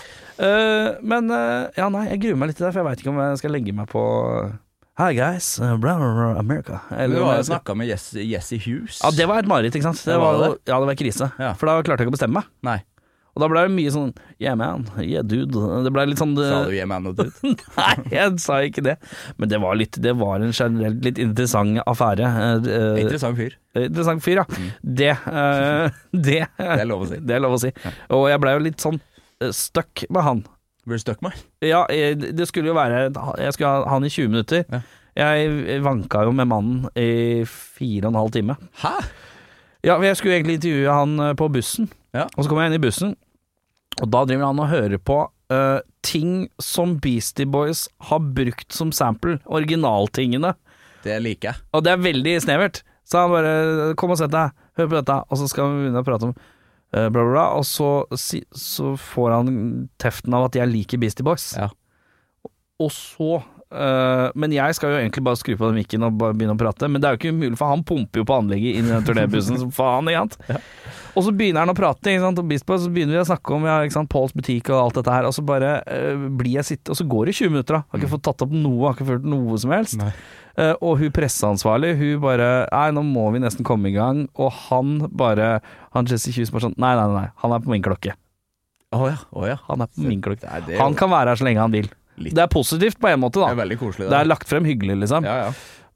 A: Eh, men eh, ja, nei, jeg gruer meg litt til det, for jeg veit ikke om jeg skal legge meg på Hi guys, uh, blah, blah, blah, America.
B: Du
A: Eller om
B: har
A: jeg
B: jo
A: skal-
B: snakka med Jesse, Jesse Hughes.
A: Ja, det var et mareritt, ikke sant? Det
B: Det var
A: var, jo-
B: det.
A: Ja, det var krise.
B: Ja.
A: For da klarte jeg ikke å bestemme meg.
B: Nei.
A: Og da ble det mye sånn Yeah man, yeah dude. Det ble litt sånn
B: Sa du yeah man og dude?
A: Nei, jeg sa ikke det. Men det var, litt, det var en generelt litt interessant affære. Eh, eh,
B: Interessant fyr.
A: interessant fyr, ja.
B: Mm.
A: Det, eh, det,
B: Det er lov å si.
A: det er lov å si. Og jeg blei jo litt sånn uh, stuck med han.
B: Blir du stuck, mann?
A: Ja, eh, det skulle jo være Jeg skulle ha han i 20 minutter.
B: Ja.
A: Jeg vanka jo med mannen i fire og en halv time.
B: Hæ?
A: Ja, for jeg skulle egentlig intervjue han eh, på bussen,
B: Ja.
A: og så kommer jeg inn i bussen, og da driver han og hører på eh, ting som Beastie Boys har brukt som sample, originaltingene,
B: Det liker jeg.
A: og det er veldig snevert. Så han bare 'kom og sett deg, hør på dette', og så skal vi begynne å prate om eh, bla, bla, bla, og så, si, så får han teften av at jeg liker Beastie Boys.
B: Ja.
A: Og så eh, men jeg skal jo egentlig bare skru på den mikken og bare begynne å prate. Men det er jo ikke mulig, for han pumper jo på anlegget inn i den turnébussen som faen. ikke sant? Og så begynner han å prate, ikke sant? og Bispo, så begynner vi å snakke om ja, ikke sant? Pauls butikk og alt dette her. Og så bare eh, blir jeg sitte, og så går det 20 minutter, da. Har ikke fått tatt opp noe, har ikke følt noe som helst.
B: Mm. Nei.
A: Eh, og hun presseansvarlig, hun bare Nei, nå må vi nesten komme i gang. Og han bare Han Jesse Hughes bare sånn Nei, nei, nei, han er på min klokke.
B: Å ja. Å ja.
A: Han er på min klokke.
B: Nei, det er
A: Han
B: jo
A: kan være her så lenge han vil.
B: Litt.
A: Det er positivt på en måte,
B: det
A: da.
B: er veldig koselig.
A: Det er lagt frem hyggelig, liksom.
B: ja, ja.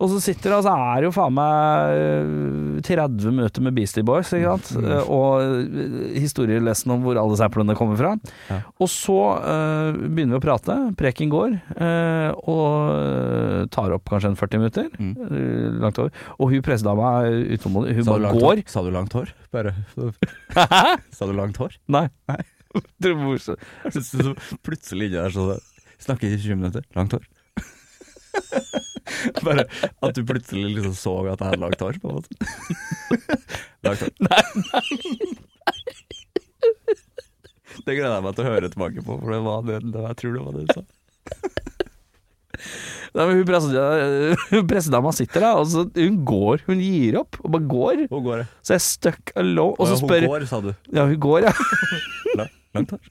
A: Og så sitter det, og så er det jo faen meg øh, 30 møter med Beastie Boys, ikke sant?
B: Mm.
A: Eh, Og øh, historielesen om hvor alle samplene kommer fra.
B: Ja.
A: Og så øh, begynner vi å prate, preken går, eh, og øh, tar opp kanskje en 40 minutter,
B: Mm.
A: eh, langt over. Og hun pressedama er utålmodig, hun
B: Sa du
A: bare
B: langt
A: går.
B: hår? Sa du langt hår? Bare Sa du langt hår?
A: Nei. Det var så-
B: Så plutselig inni der så Snakker ikke 20 minutter. Langt hår. Bare at du plutselig liksom så at jeg hadde langt hår, på en måte. Langt hår. Nei, nei. Det gleder jeg meg til å høre tilbake på, for det var det, det jeg tror det var det du sa.
A: Nei, men hun presseda- hun pressedama sitter der, og så hun går, hun gir opp, og bare går.
B: Hvor går det?
A: Så jeg er stuck alone, og så spør
B: Hun går, sa du.
A: Ja, hun går, ja.
B: La- Langt hår.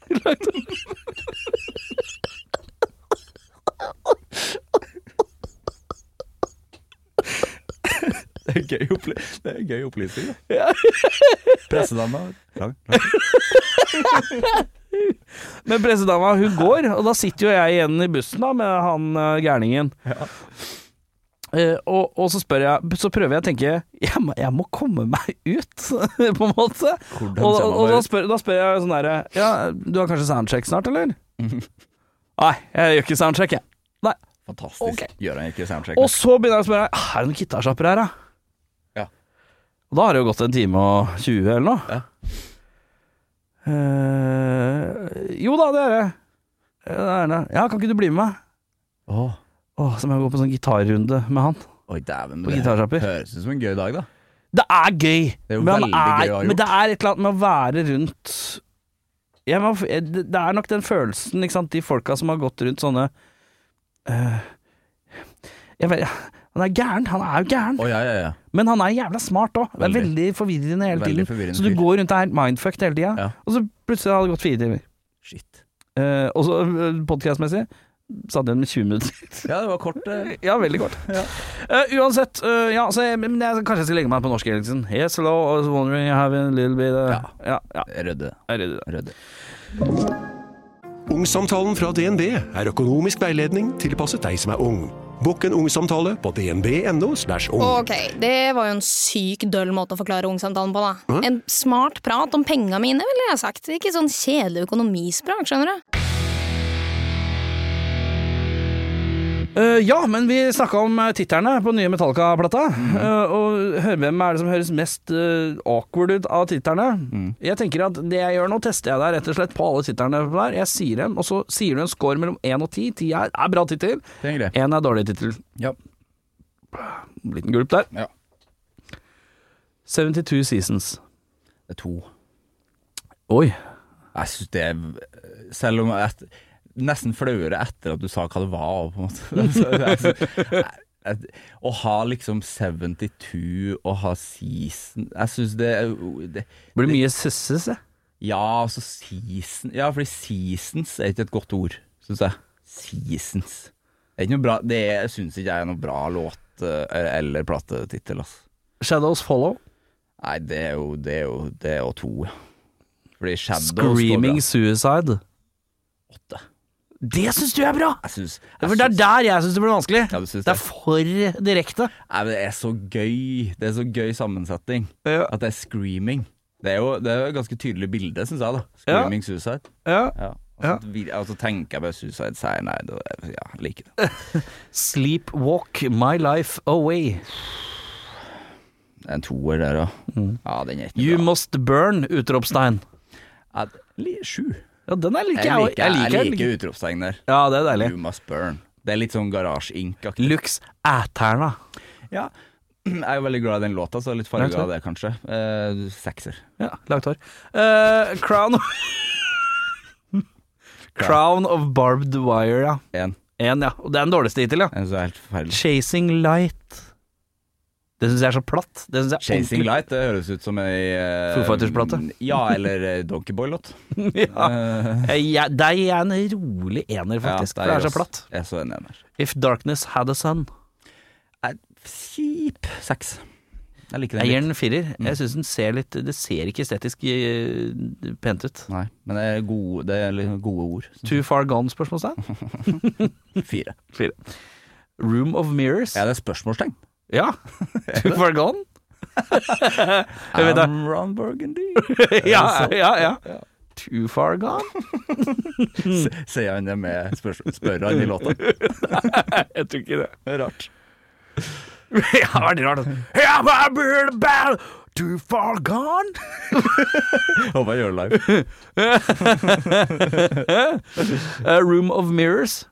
B: Det er gøy, opply det er gøy opplysning, da. Pressedama. Lang, lang.
A: Men pressedama, hun går, og da sitter jo jeg igjen i bussen da med han eh, gærningen. Eh, og, og så spør jeg Så prøver jeg å tenke Jeg må, jeg må komme meg ut, på en måte.
B: Hvordan
A: Og,
B: ser man
A: og
B: meg
A: da,
B: ut?
A: spør, da spør jeg sånn herre Ja, du har kanskje soundcheck snart, eller? Nei, jeg gjør ikke soundcheck, jeg. Nei.
B: Fantastisk.
A: Ok.
B: Gjør han ikke soundcheck?
A: Og så begynner jeg å spørre «Ah, Er det noen gitarsjapper her, da?
B: Ja.
A: Og da har det jo gått en time og 20 eller noe.
B: Ja.
A: Eh, jo da, det er det. Ja, det er det. Ja, kan ikke du bli med meg?
B: Åh.
A: Åh, så må jeg gå på en sånn gitarrunde med han.
B: Oi, dæven.
A: På
B: Det
A: gitarsjapper.
B: høres ut som en gøy dag, da.
A: Det er gøy!
B: er jo
A: men, han
B: veldig gøy å ha
A: er,
B: gjort.
A: men det er et eller annet med å være rundt jeg må, jeg- det det er nok den følelsen, ikke sant, de folka som har gått rundt sånne eh, Jeg vet Han er gæren, han er jo gæren,
B: Å ja, ja, ja.
A: men han er jævla smart òg. Det er
B: Veldig.
A: veldig forvirrende hele
B: Veldig
A: tiden.
B: forvirrende
A: så du
B: fyr.
A: går rundt og er mindfucked hele tida,
B: Ja.
A: og så plutselig har det gått fire timer.
B: Shit.
A: Eh, og så eh, podcastmessig satt igjen med 20 minutter.
B: Ja, det var kort. eh.
A: Ja, veldig kort. Eh, uansett, eh, ja, så jeg, men jeg, kanskje jeg skal legge meg på norsk, Eriksen. Yes, hello, I was wondering you have a little bit uh, ja. ja,
B: Rødde.
A: jeg er redd i det.
B: Rødde.
C: Ungsamtalen fra DNB er økonomisk veiledning tilpasset deg som er ung. Bokk en ungsamtale på dnb.no. slash ung.
D: Ok, det var jo en syk døll måte å forklare ungsamtalen på, da. En smart prat om penga mine, ville jeg sagt. Ikke sånn kjedelig økonomispråk, skjønner du.
A: Eh, ja, men vi snakka om eh, titterne på nye Metallica-plata.
B: Mhm.
A: Eh, og hør, hvem er det som høres mest eh, awkward ut av titterne?
B: Mhm.
A: Jeg tenker at det jeg gjør nå, tester jeg deg rett og slett på alle titterne der. Jeg sier dem, og så sier du en score mellom 1 og 10. 10 er, er bra tittel,
B: Det er greit.
A: 1 er dårlig tittel.
B: Ja.
A: Liten gulp der.
B: Ja.
A: 72 Seasons.
B: Det er to.
A: Oi.
B: Jeg synes det er Selv om jeg Nesten flauere etter at du sa hva det var, på en måte. Så jeg synes- jeg- jeg- Å ha liksom 72 og ha season Jeg syns det, er- det
A: Blir det mye sisses, jeg.
B: Ja, altså season Ja, fordi seasons er ikke et godt ord, syns jeg. Seasons. Det er ikke noe bra Det syns ikke jeg er noe bra låt eh, eller platetittel, altså.
A: Shadows Follow.
B: Nei, det er jo Det er jo, det er jo to, ja. Fordi Shadows går bra.
A: Screaming Suicide.
B: Åtte.
A: Det syns du er bra!
B: Jeg syns
A: For det er der jeg syns det blir vanskelig.
B: Ja, du synes
A: det er
B: det.
A: for direkte.
B: Nei, men det er så gøy Det er så gøy sammensetning At det er screaming Det er jo, det er jo et ganske tydelig bilde, synes jeg da Screaming suicide
A: Ja.
B: ja. Og så vil- Og så tenker jeg bare suicide sier nei det, Ja, jeg liker det
A: Sleepwalk My Life Away.
B: Det er en toer der også Ja, den er ikke
A: You
B: bra
A: Must Burn! Utropstegn.
B: ja, det- li- Sju
A: Ja, den er like
B: Jeg liker, jeg liker,
A: den.
B: utropstegn der
A: Ja, det er deilig.
B: You must burn Det er litt sånn garasje-ink-aktig
A: Lux Æterna.
B: Ja jeg er jo veldig glad i den låta, så litt farget
A: Takk, takk.
B: av det kanskje eh, Sekser
A: Ja, langt hår. Eh, crown Crown of Barbed Wire, ja.
B: En
A: En, ja. Og det er den dårligste hittil, ja.
B: En som er helt forferdelig
A: Chasing Light. Det syns jeg er så platt. Det synes jeg er
B: Chasing
A: ordentlig-
B: Light, det høres ut som ei eh,
A: Foo Fighters-plate.
B: Ja, eller eh, Donkeyboy-låt
A: ja.
B: Eh,
A: Eh, jeg, deg er en rolig ener, faktisk. for
B: Ja,
A: det er
B: oss.
A: så platt.
B: Jeg er så enig der.
A: If Darkness Had a Sun.
B: Kjip seks. Jeg liker
A: Jeg gir
B: den litt.
A: den en firer. Jeg syns den ser litt Det ser ikke estetisk eh, pent ut.
B: Nei, men det er gode, det er litt gode ord.
A: Too far gone? spørsmålstegn.
B: Fire.
A: Room of Mirrors?
B: Er det spørsmålstegn?
A: Ja. Too far gone? Jeg vet det.
B: I'm Ron Burgundy.
A: ja, ja, ja. Too far gone?
B: S- Sier han det med spørsmål, spør han i låta.
A: Jeg tror ikke det.
B: Det er Rart.
A: ja, det var litt rart. altså. Ja, my bird bad, Too far gone?
B: Håper jeg gjør det live.
A: Eh, Room of Mirrors?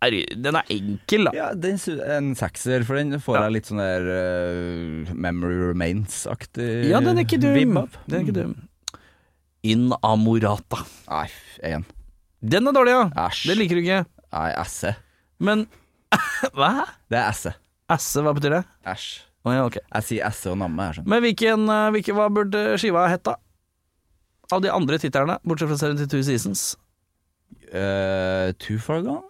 A: Er, den er enkel, da.
B: Ja, den, sy- en sekser, for den får
A: Ja.
B: jeg litt sånn der eh, Memory Remains-aktig
A: Ja, den er ikke dum.
B: vibb av.
A: Den er ikke dum. In Amorata.
B: Mm. Nei, f- en.
A: Den er dårlig, ja.
B: Æsj.
A: Det liker du ikke.
B: Nei, esse.
A: Men Hva?
B: Det er esse.
A: Asse, hva betyr det?
B: Æsj.
A: Å ja, ok.
B: Jeg sier esse og namme, jeg skjønner.
A: Men hvilken, eh, hvilken Hva burde skiva hett, da? Av de andre titterne, bortsett fra 72 Seasons.
B: Eh, too far gone?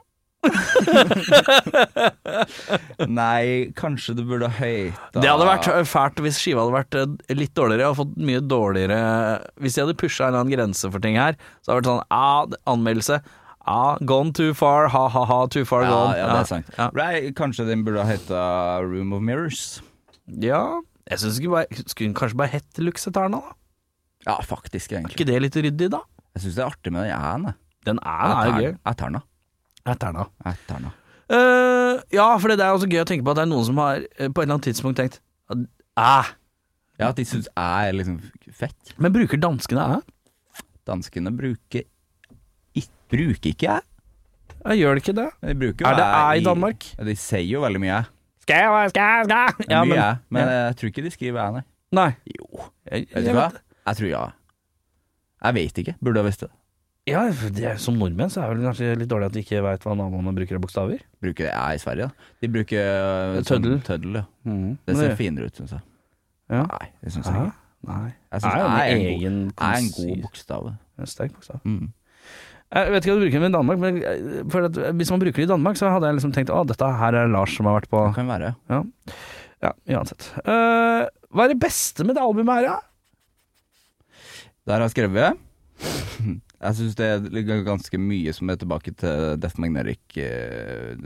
B: Nei, kanskje det burde høyta
A: Det hadde vært eh, fælt hvis skiva hadde vært eh, litt dårligere, og fått mye dårligere eh, Hvis de hadde pusha en eller annen grense for ting her, så hadde det vært sånn ah, anmeldelse ah, Gone too far, ha-ha-ha, too far
B: ja,
A: gone.
B: ja, det er sant.
A: Ja.
B: Nei, kanskje den burde heta Room of Mirrors.
A: ja. Jeg syns skulle, bare- skulle den kanskje bare hett Luxeterna, da.
B: Ja, faktisk,
A: Er
B: egentlig.
A: ikke det litt ryddig, da?
B: Jeg syns det er artig med den æ-en. jeg.
A: Den er, er jo
B: Jeg
A: gøy.
B: tar- Jeg tar den.
A: Æterna.
B: Jeg tar den.
A: Eh, ja, for det er også gøy å tenke på at det er noen som har eh, på et eller annet tidspunkt tenkt ah, Æh,
B: Ja, at de syns æ er liksom fett.
A: men bruker danskene æ?
B: Danskene bruker ik Bruker ikke æ.
A: Ja, gjør de ikke det?
B: De bruker
A: Er det æ i Danmark?
B: De sier jo veldig mye æ.
A: Skal jeg, skal jeg, skal jeg? Ja,
B: mye
A: men,
B: æ, men jeg tror ikke de skriver æ, nei.
A: Nei.
B: Jo.
A: Jeg,
B: Vet du hva? Jeg tror ja. Jeg vet ikke. Burde ha visst det.
A: Ja, det, som nordmenn så er det vel kanskje litt dårlig at vi ikke veit hva naboene bruker av bokstaver.
B: Bruker det ja, i Sverige, da. De bruker eh, sånn
A: Tøddel.
B: tøddel ja.
A: Men
B: Det ser
A: det-
B: finere ut, syns jeg.
A: Ja.
B: Nei, det syns jeg
A: Hæ?
B: ikke.
A: Nei.
B: Jeg
A: Er
B: syns
A: jo en
B: jeg er en,
A: egen
B: god- jeg er en
A: konsis-
B: god bokstav.
A: En Sterk bokstav.
B: Mm.
A: Jeg vet ikke hva du bruker dem i Danmark, men jeg føler at eh, hvis man bruker det i Danmark, så hadde jeg liksom tenkt å, dette her er Lars som har vært på
B: Det kan være.
A: Ja, ja uansett. Eh, hva er det beste med det albumet her, da?
B: Der har jeg skrevet Jeg syns det ligger ganske mye som er tilbake til Death
A: Ja,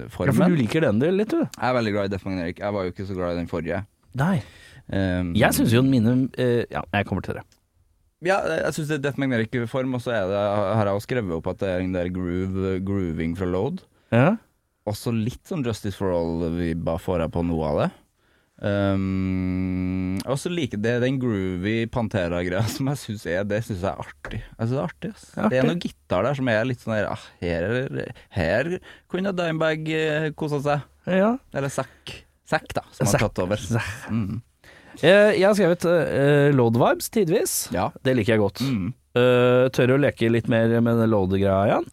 A: for du
B: Magnetic-formen.
A: liker den del litt, du.
B: jeg er veldig glad i Death Magnetic. Jeg var jo ikke så glad i den forrige.
A: Nei.
B: Um,
A: Jeg syns jo mine eh, Ja, jeg kommer til det.
B: Ja, jeg syns det er Death Magnetic-form, og så er det, har jeg også skrevet opp at det er den der groove, grooving fra Load.
A: Ja.
B: Også litt sånn Justice for All-vibba får jeg på noe av det. Um, og så liker jeg det den groovy Pantera-greia som jeg syns er Det synes jeg er artig. Jeg synes det er artig, ass.
A: Det er artig.
B: Det er noe gitar der som er litt sånn der ah, her, er- her kunne Dimebag eh, kosa seg.
A: ja.
B: Eller Zack. Zack, da, som
A: Zack.
B: har tatt over. Mm.
A: Eh, jeg har skrevet eh, load vibes tidvis.
B: Ja.
A: Det liker jeg godt.
B: Mm.
A: Eh, tør å leke litt mer med den load-greia igjen.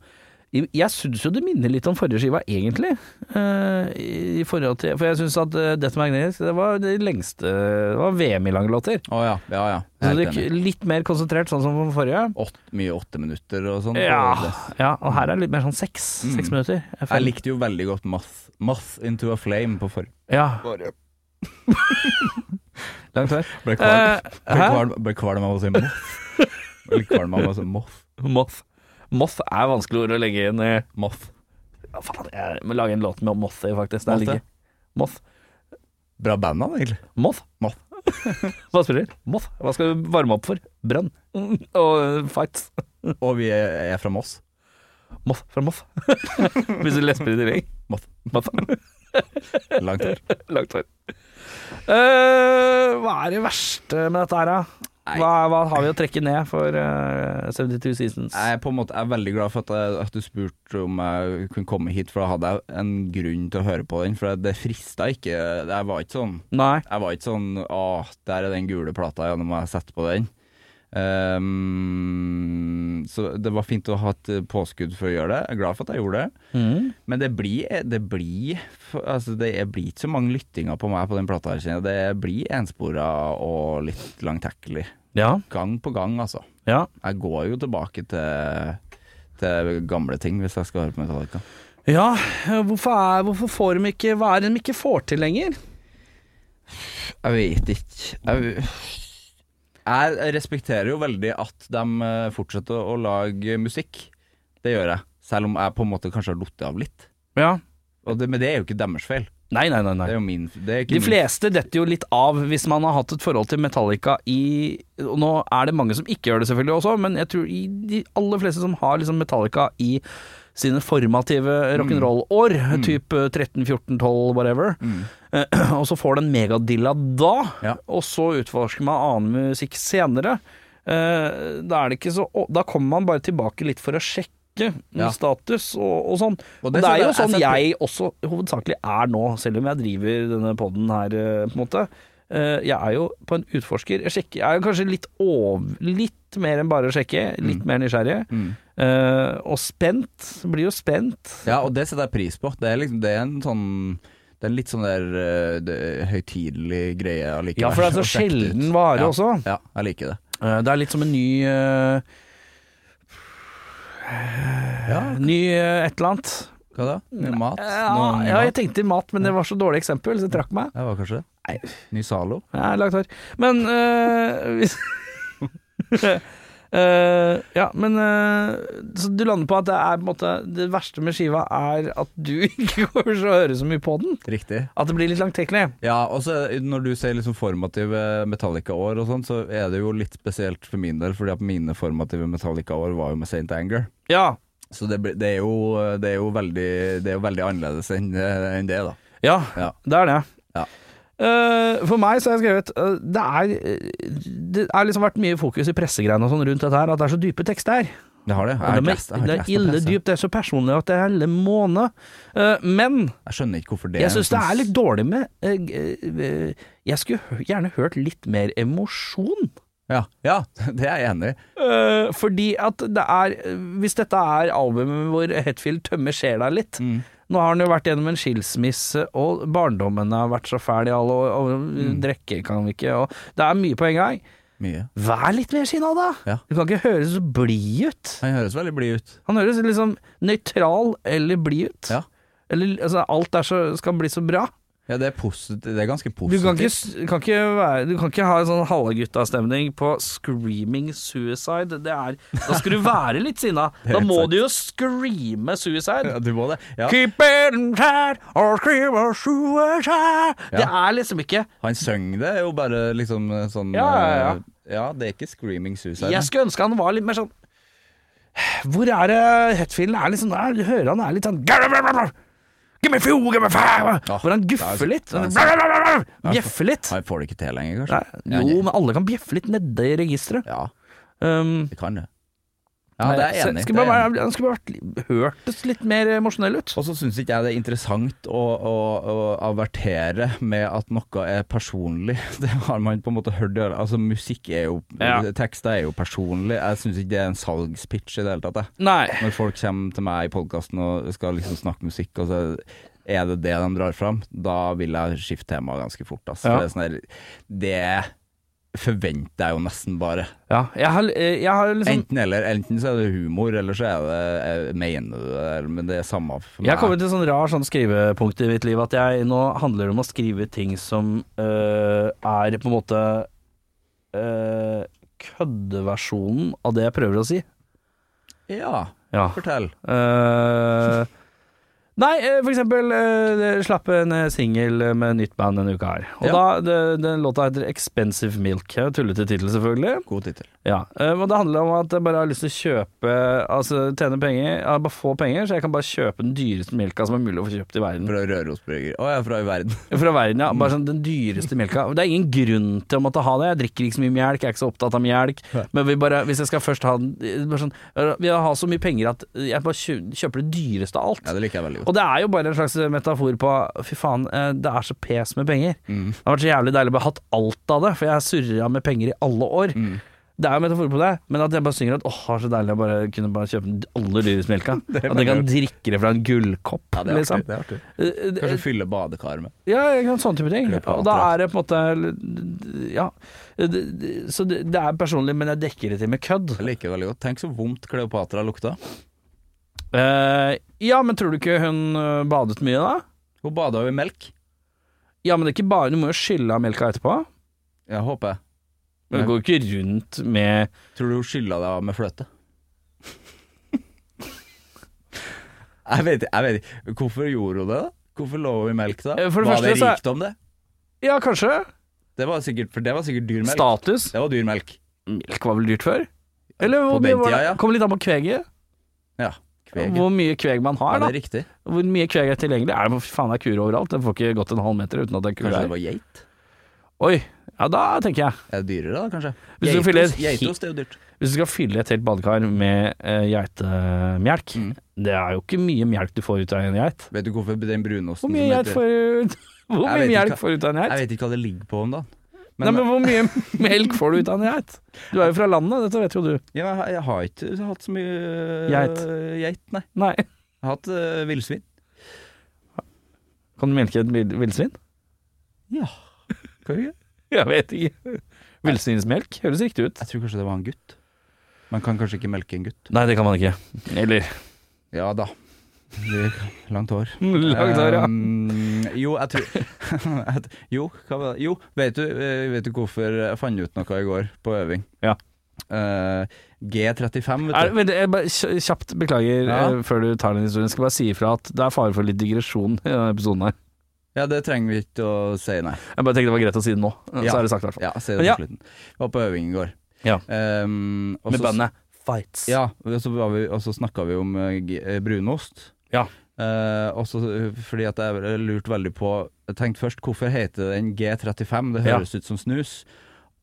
A: I- Jeg syns jo det minner litt om forrige skiva, egentlig. Eh, i- i forhold til, for jeg syns at eh, Death Magnetic det var de lengste Det var VM i lange låter.
B: Å ja. Ja, ja.
A: Så
B: Helt
A: det
B: enig.
A: er litt mer konsentrert, sånn som den forrige.
B: Åt, mye åtte minutter og sånn.
A: Ja, ja, og her er det litt mer sånn seks,
B: Mm.
A: seks minutter.
B: Jeg likte jo veldig godt Moth, Moth into a Flame på forrige.
A: Ja,
B: Ble
A: langt vei.
B: kvalm- ble
A: hæ?
B: kvalm- ble kvalm av å si Moth. Ble kvalm av å si Moth.
A: Moth. Moth er vanskelig ord å legge inn eh, i
B: Moth.
A: ja, Faen, jeg må lage en låt med Moth i, faktisk. Det er
B: Moth, ja.
A: like- Moth.
B: Bra band, da, egentlig.
A: Moth?
B: Moth.
A: Hva spiller du? Moth. Hva skal du varme opp for? Brann. Og eh, fights.
B: Og vi er, er fra Moss.
A: Moth fra Moth. Hvis du lesper i tillegg.
B: Moth.
A: Moth.
B: Langt her.
A: Langt hår. Eh, hva er det verste med dette her, da? Hva, hva har vi å trekke ned for eh, 72 Seasons?
B: Jeg er på en måte jeg er veldig glad for at, jeg, at du spurte om jeg kunne komme hit, for da hadde jeg en grunn til å høre på den. For det frista ikke. Jeg var ikke sånn
A: Nei.
B: Jeg var ikke sånn Åh, der er den gule plata, ja, nå må jeg sette på den. Ehm, så det var fint å ha et eh, påskudd for å gjøre det. Jeg er glad for at jeg gjorde det. Men det blir, eh, det blir Altså, det er- blir ikke så mange lyttinger på meg på den plata. her, kjenner jeg. Det blir enspora og litt langtekkelig.
A: Ja.
B: Gang på gang, altså.
A: Ja.
B: Jeg går jo tilbake til, til gamle ting hvis jeg skal høre på Metallica.
A: ja hvorfor, er, hvorfor får de ikke Hva er det de ikke får til lenger?
B: Jeg vet ikke. Jeg, jeg respekterer jo veldig at de eh, fortsetter å lage musikk. Det gjør jeg. Selv om jeg på en måte kanskje har lottet av litt.
A: Ja.
B: Og det, men det er jo ikke deres feil.
A: Nei, nei, nei. nei.
B: Det er jo min det er ikke
A: De fleste detter jo litt av hvis man har hatt et forhold til Metallica i og Nå er det mange som ikke gjør det selvfølgelig også, men jeg tror i de aller fleste som har liksom Metallica i sine formative rock'n'roll-år,
B: Mm.
A: eh, type 13, 14, 12, whatever, eh, og så får den megadilla da,
B: Ja.
A: og så utforsker man annen musikk senere, eh, da er det ikke så å, Da kommer man bare tilbake litt for å sjekke.
B: Ja.
A: Status og, og sånn. Og det,
B: så
A: er jo
B: jeg
A: sånn
B: setter-
A: jeg også hovedsakelig er nå, selv om jeg driver denne poden her, eh, på en måte. Eh, Jeg er jo på en utforsker. Jeg, sjekker, jeg er jo kanskje litt, over, litt mer enn bare å sjekke, litt mer nysgjerrig.
B: Mm.
A: Eh, og spent. Blir jo spent.
B: Ja, og det setter jeg pris på. Det er, liksom, det er en sånn Det er en litt sånn der eh, det, høytidelig greie allikevel.
A: Ja, for det er så
B: å sjekke det ut.
A: sjelden vare
B: ja,
A: også.
B: Ja, jeg liker det.
A: Eh, Det er litt som en ny eh, Ny eh, et eller annet.
B: Hva da? Ny mat?
A: Ja,
B: Noe-
A: ja, jeg tenkte mat, men det var så dårlig eksempel, så jeg trakk meg.
B: Det var kanskje det. Ny Zalo?
A: Ja, langt hår. Men eh, hvis Eh, Ja, men eh, Så du lander på at det er på en måte Det verste med skiva er at du ikke kommer til å høre så mye på den.
B: Riktig.
A: At det blir litt langtekkelig.
B: Ja, og så når du sier liksom formative Metallica-år og sånn, så er det jo litt spesielt for min del, fordi at mine formative Metallica-år var jo med St. Anger.
A: Ja.
B: Så det, blir- det, er jo, det, er jo veldig, det er jo veldig annerledes enn enn det, da.
A: Ja,
B: Ja.
A: det er det.
B: Ja.
A: Eh, for meg så har jeg skrevet eh, Det er eh, Det har liksom vært mye fokus i pressegreiene og sånn rundt dette her, at det er så dype tekster.
B: Jeg har det. Jeg
A: Og
B: har
A: de
B: ikke
A: er-
B: lest jeg har
A: det er
B: ikke lest noe
A: ille
B: presse.
A: dypt, det er så personlig at det er hele måned. Eh, men
B: Jeg skjønner ikke hvorfor det
A: Jeg syns det
B: sånn-
A: er litt dårlig med eh, eh, Jeg skulle hø- gjerne hørt litt mer emosjon
B: Ja, ja det er jeg enig i.
A: Eh, fordi at det er Hvis dette er albumet hvor Hetfield tømmer sjela litt
B: Mm.
A: Nå har han jo vært gjennom en skilsmisse, og barndommen har vært så fæl i alle år, og
B: Mm.
A: drikke kan vi ikke, og det er mye på en gang.
B: Mye.
A: Vær litt mer sinna, da!
B: Ja.
A: Du kan ikke høres så blid ut.
B: Han høres veldig blid ut.
A: Han høres liksom nøytral eller blid ut.
B: Ja.
A: Eller altså, alt er så, skal bli så bra.
B: Ja, det er, posit det er ganske
A: Du
B: positivt.
A: kan ikke, s- kan ikke, være, du kan ikke ha en sånn halleguttastemning på screaming suicide. Det er, da skal du være litt sinna. Da
B: helt
A: må
B: sant.
A: du jo screame suicide.
B: ja, du må det. Ja.
A: Keep it inside or scream or suicide. Det er liksom ikke
B: Han synger det jo bare liksom eh, sånn
A: Ja, ja, ja.
B: eh, ja, det er ikke screaming suicide.
A: Jeg skulle ønske han var litt mer sånn Hvor er det Hetfield er liksom der? Du hører han er litt sånn Give me fuel, give me fire Hvor han
B: det er-
A: guffer litt.
B: det er-
A: Bjeffer litt.
B: Han får det ikke til lenger,
A: Nei,
B: kanskje?
A: Jo,
B: Ja,
A: men alle kan bjeffe litt nede i registeret.
B: Ja,
A: Um,
B: det kan det. Ja, det er jeg
A: så-
B: enig. i,
A: Skulle
B: det er
A: bare,
B: jeg enig i.
A: være- han skulle bare vært, litt- hørtes litt mer emosjonell ut.
B: Og så syns ikke jeg det er interessant å, å, å avertere med at noe er personlig. Det har man på en måte hørt i alle- Altså, musikk er jo
A: Ja.
B: Tekster er jo personlig. Jeg syns ikke det er en salgspitch i det hele tatt, jeg.
A: Nei.
B: Når folk kommer til meg i podkasten og skal liksom snakke musikk, og så er det det de drar fram, da vil jeg skifte tema ganske fort. ass.
A: Ja.
B: For Det, er sånn der, det forventer jeg jo nesten bare.
A: Ja, jeg har, eh, jeg har liksom
B: Enten eller. Enten så er det humor, eller så er det eh, mener du det, eller- men det er samme for meg.
A: Jeg har kommet til et sånn rar sånn skrivepunkt i mitt liv at jeg nå handler det om å skrive ting som øh, er på en måte øh, køddeversjonen av det jeg prøver å si.
B: Ja,
A: Ja.
B: fortell.
A: Eh, nei, øh, for eksempel øh, det- slapp en øh, singel med nytt band denne uka her. Og da,
B: Ja.
A: det, den låta heter Expensive Milk. Jeg Tullete tittel, selvfølgelig.
B: God tittel.
A: Ja, eh, men det handler om at jeg bare har lyst til å kjøpe Altså tjene penger, ja, bare få penger, så jeg kan bare kjøpe den dyreste melka som er mulig å få kjøpt i verden.
B: Fra Rørosbrygger. Å, jeg er fra i verden.
A: Fra verden, ja. Bare sånn den dyreste melka. Det er ingen grunn til å måtte ha det. Jeg drikker ikke så mye melk, jeg er ikke så opptatt av melk. Men vi bare, hvis jeg skal først ha den eh, bare sånn, eh, Vi har så mye penger at jeg bare kjø- kjøper det dyreste av
B: Ja,
A: alt.
B: det liker jeg veldig godt.
A: Og det er jo bare en slags metafor på fy faen, eh, det er så pes med penger.
B: Mm.
A: Det har vært så jævlig deilig å bare hatt alt av det, for jeg surra med penger i alle år.
B: Mm.
A: Det er jo metafor på det, men at jeg bare synger at åh, det er så deilig å bare kunne bare kjøpe den aller dyreste melka. At jeg kan drikke det fra en gullkopp,
B: Ja, det er
A: liksom.
B: artig. Det er artig.
A: Eh, eh,
B: Kanskje fylle badekar med.
A: Ja, jeg kan sånne type ting.
B: Klippe
A: Og da
B: alt,
A: er det på en måte Ja. Det- det- Så det det er personlig, men jeg dekker det til med kødd.
B: Jeg liker det veldig godt. Tenk så vondt Kleopatra lukta.
A: Eh, ja, men tror du ikke hun eh, badet mye da?
B: Hun bada jo i melk.
A: Ja, men det er ikke bare Du må jo skylle av melka etterpå.
B: Jeg håper jeg.
A: Men du går jo ikke rundt med
B: Tror du hun skylla deg av med fløte? jeg vet ikke. Jeg vet ikke. Hvorfor gjorde hun det, da? Hvorfor lå hun i melk, da?
A: Eh, for det
B: var
A: første
B: det
A: så er-
B: rikdom, det?
A: Ja, kanskje.
B: Det var sikkert, for det var sikkert dyr melk.
A: Status.
B: Det var dyr melk.
A: Melk var vel dyrt før? Eller
B: På
A: hvor
B: den
A: mye var
B: tida, ja.
A: det? Kommer litt an på kveget.
B: Ja. Kveg.
A: Hvor mye kveg man
B: Ja,
A: har,
B: det
A: da.
B: er riktig.
A: Hvor mye kveg er tilgjengelig? Er det, fy faen, det er kur overalt. Den får ikke gått en halv meter uten at det er kur
B: Kanskje det
A: der.
B: var geit?
A: Oi. Ja, da tenker jeg.
B: Er det dyrere, da, kanskje?
A: Hvis du fyller-
B: Geitost- Geitost er jo dyrt.
A: Hvis du skal fylle et helt badekar med eh, geitemelk,
B: Mm.
A: det er jo ikke mye melk du får ut av en geit.
B: Vet du hvorfor den brunosten
A: Hvor mye geit
B: heter-
A: får ut Hvor
B: Jeg
A: mye
B: vet ikke.
A: melk får du ut av en
B: Jeg
A: geit?
B: vet ikke hva det ligger på om dagen. Men,
A: Nei, men hvor mye melk får du ut av en geit? Du er jo fra landet, dette vet jo du.
B: ja, men jeg, jeg har ikke hatt så mye øh,
A: Geit.
B: geit, nei.
A: Nei.
B: Jeg har hatt øh, villsvin.
A: Kan du melke et vill- villsvin?
B: Ja. Kan du ikke?
A: Jeg vet ikke. Villsvinsmelk høres riktig ut.
B: Jeg tror kanskje det var en gutt. Man kan kanskje ikke melke en gutt.
A: Nei, det kan man ikke. Eller
B: Ja da. Det er Langt hår.
A: Langt hår, ja.
B: Um, jo, jeg tror jeg t- Jo, hva var det? Jo, vet du, eh, vet du hvorfor jeg fant ut noe i går på øving?
A: Ja.
B: Eh, G35, vet du.
A: er, vent, jeg bare, kj- Kjapt beklager
B: Ja.
A: eh, før du tar den historien. Skal bare si ifra at det er fare for litt digresjon i denne episoden her.
B: Ja, det trenger vi ikke å si nei.
A: Jeg bare tenkte det var greit å si det nå. eh,
B: Ja.
A: Så er det sagt, i hvert fall.
B: Ja, si det
A: Men
B: på
A: ja.
B: slutten. Vi var på øving i går.
A: Ja.
B: Um, og
A: Med
B: så-
A: bandet Fights.
B: Ja, og så, var vi- og så snakka vi om eh, g- eh, brunost.
A: Ja.
B: Eh, også fordi at jeg lurte veldig på Jeg tenkte først hvorfor heter den G35? Det
A: Ja.
B: høres ut som snus.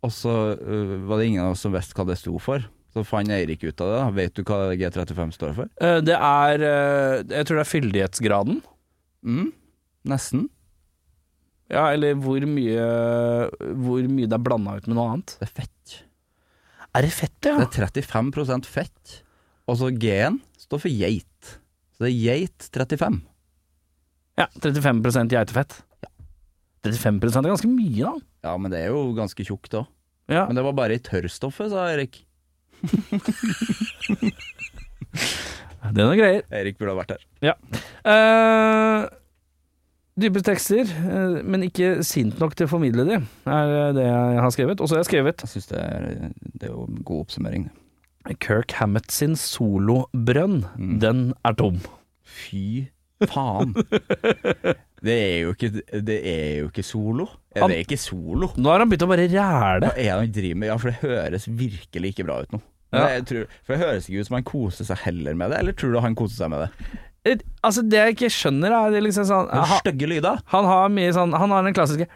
B: Og så eh, var det ingen av oss som visste hva det sto for. Så fant Eirik ut av det. da Vet du hva G35 står for?
A: Eh, Det er eh, Jeg tror det er fyldighetsgraden.
B: Mm, nesten.
A: Ja, eller hvor mye Hvor mye det er blanda ut med noe annet.
B: Det er fett.
A: Er det fett, det, ja?
B: Det er 35 fett. Og så G-en står for geit. Så det er geit 35.
A: Ja, 35 geitefett. 35 er ganske mye, da.
B: Ja, men det er jo ganske tjukt òg.
A: Ja.
B: Men det var bare i tørrstoffet, sa Erik.
A: Det er noen greier.
B: Erik burde ha vært her.
A: Eh, dype tekster, eh, men ikke sint nok til å formidle de, er eh, det jeg har skrevet. Og så har jeg skrevet
B: Jeg syns det, er- det er jo en god oppsummering. det.
A: Kirk Hammett sin solobrønn, den er tom.
B: Fy faen. Det er jo ikke, det er jo ikke solo. Er
A: Han-
B: det er ikke solo.
A: Nå har han begynt å bare ræle.
B: Hva er det han driver med? Ja, for det høres virkelig ikke bra ut nå. Men
A: Ja.
B: Jeg tror, for Det høres ikke ut som han koser seg heller med det, eller tror du han koser seg med det?
A: Eh, Altså, det jeg ikke skjønner, er det liksom sånn
B: Men
A: ha,
B: Stygge lyder.
A: han har mye sånn Han har den klassiske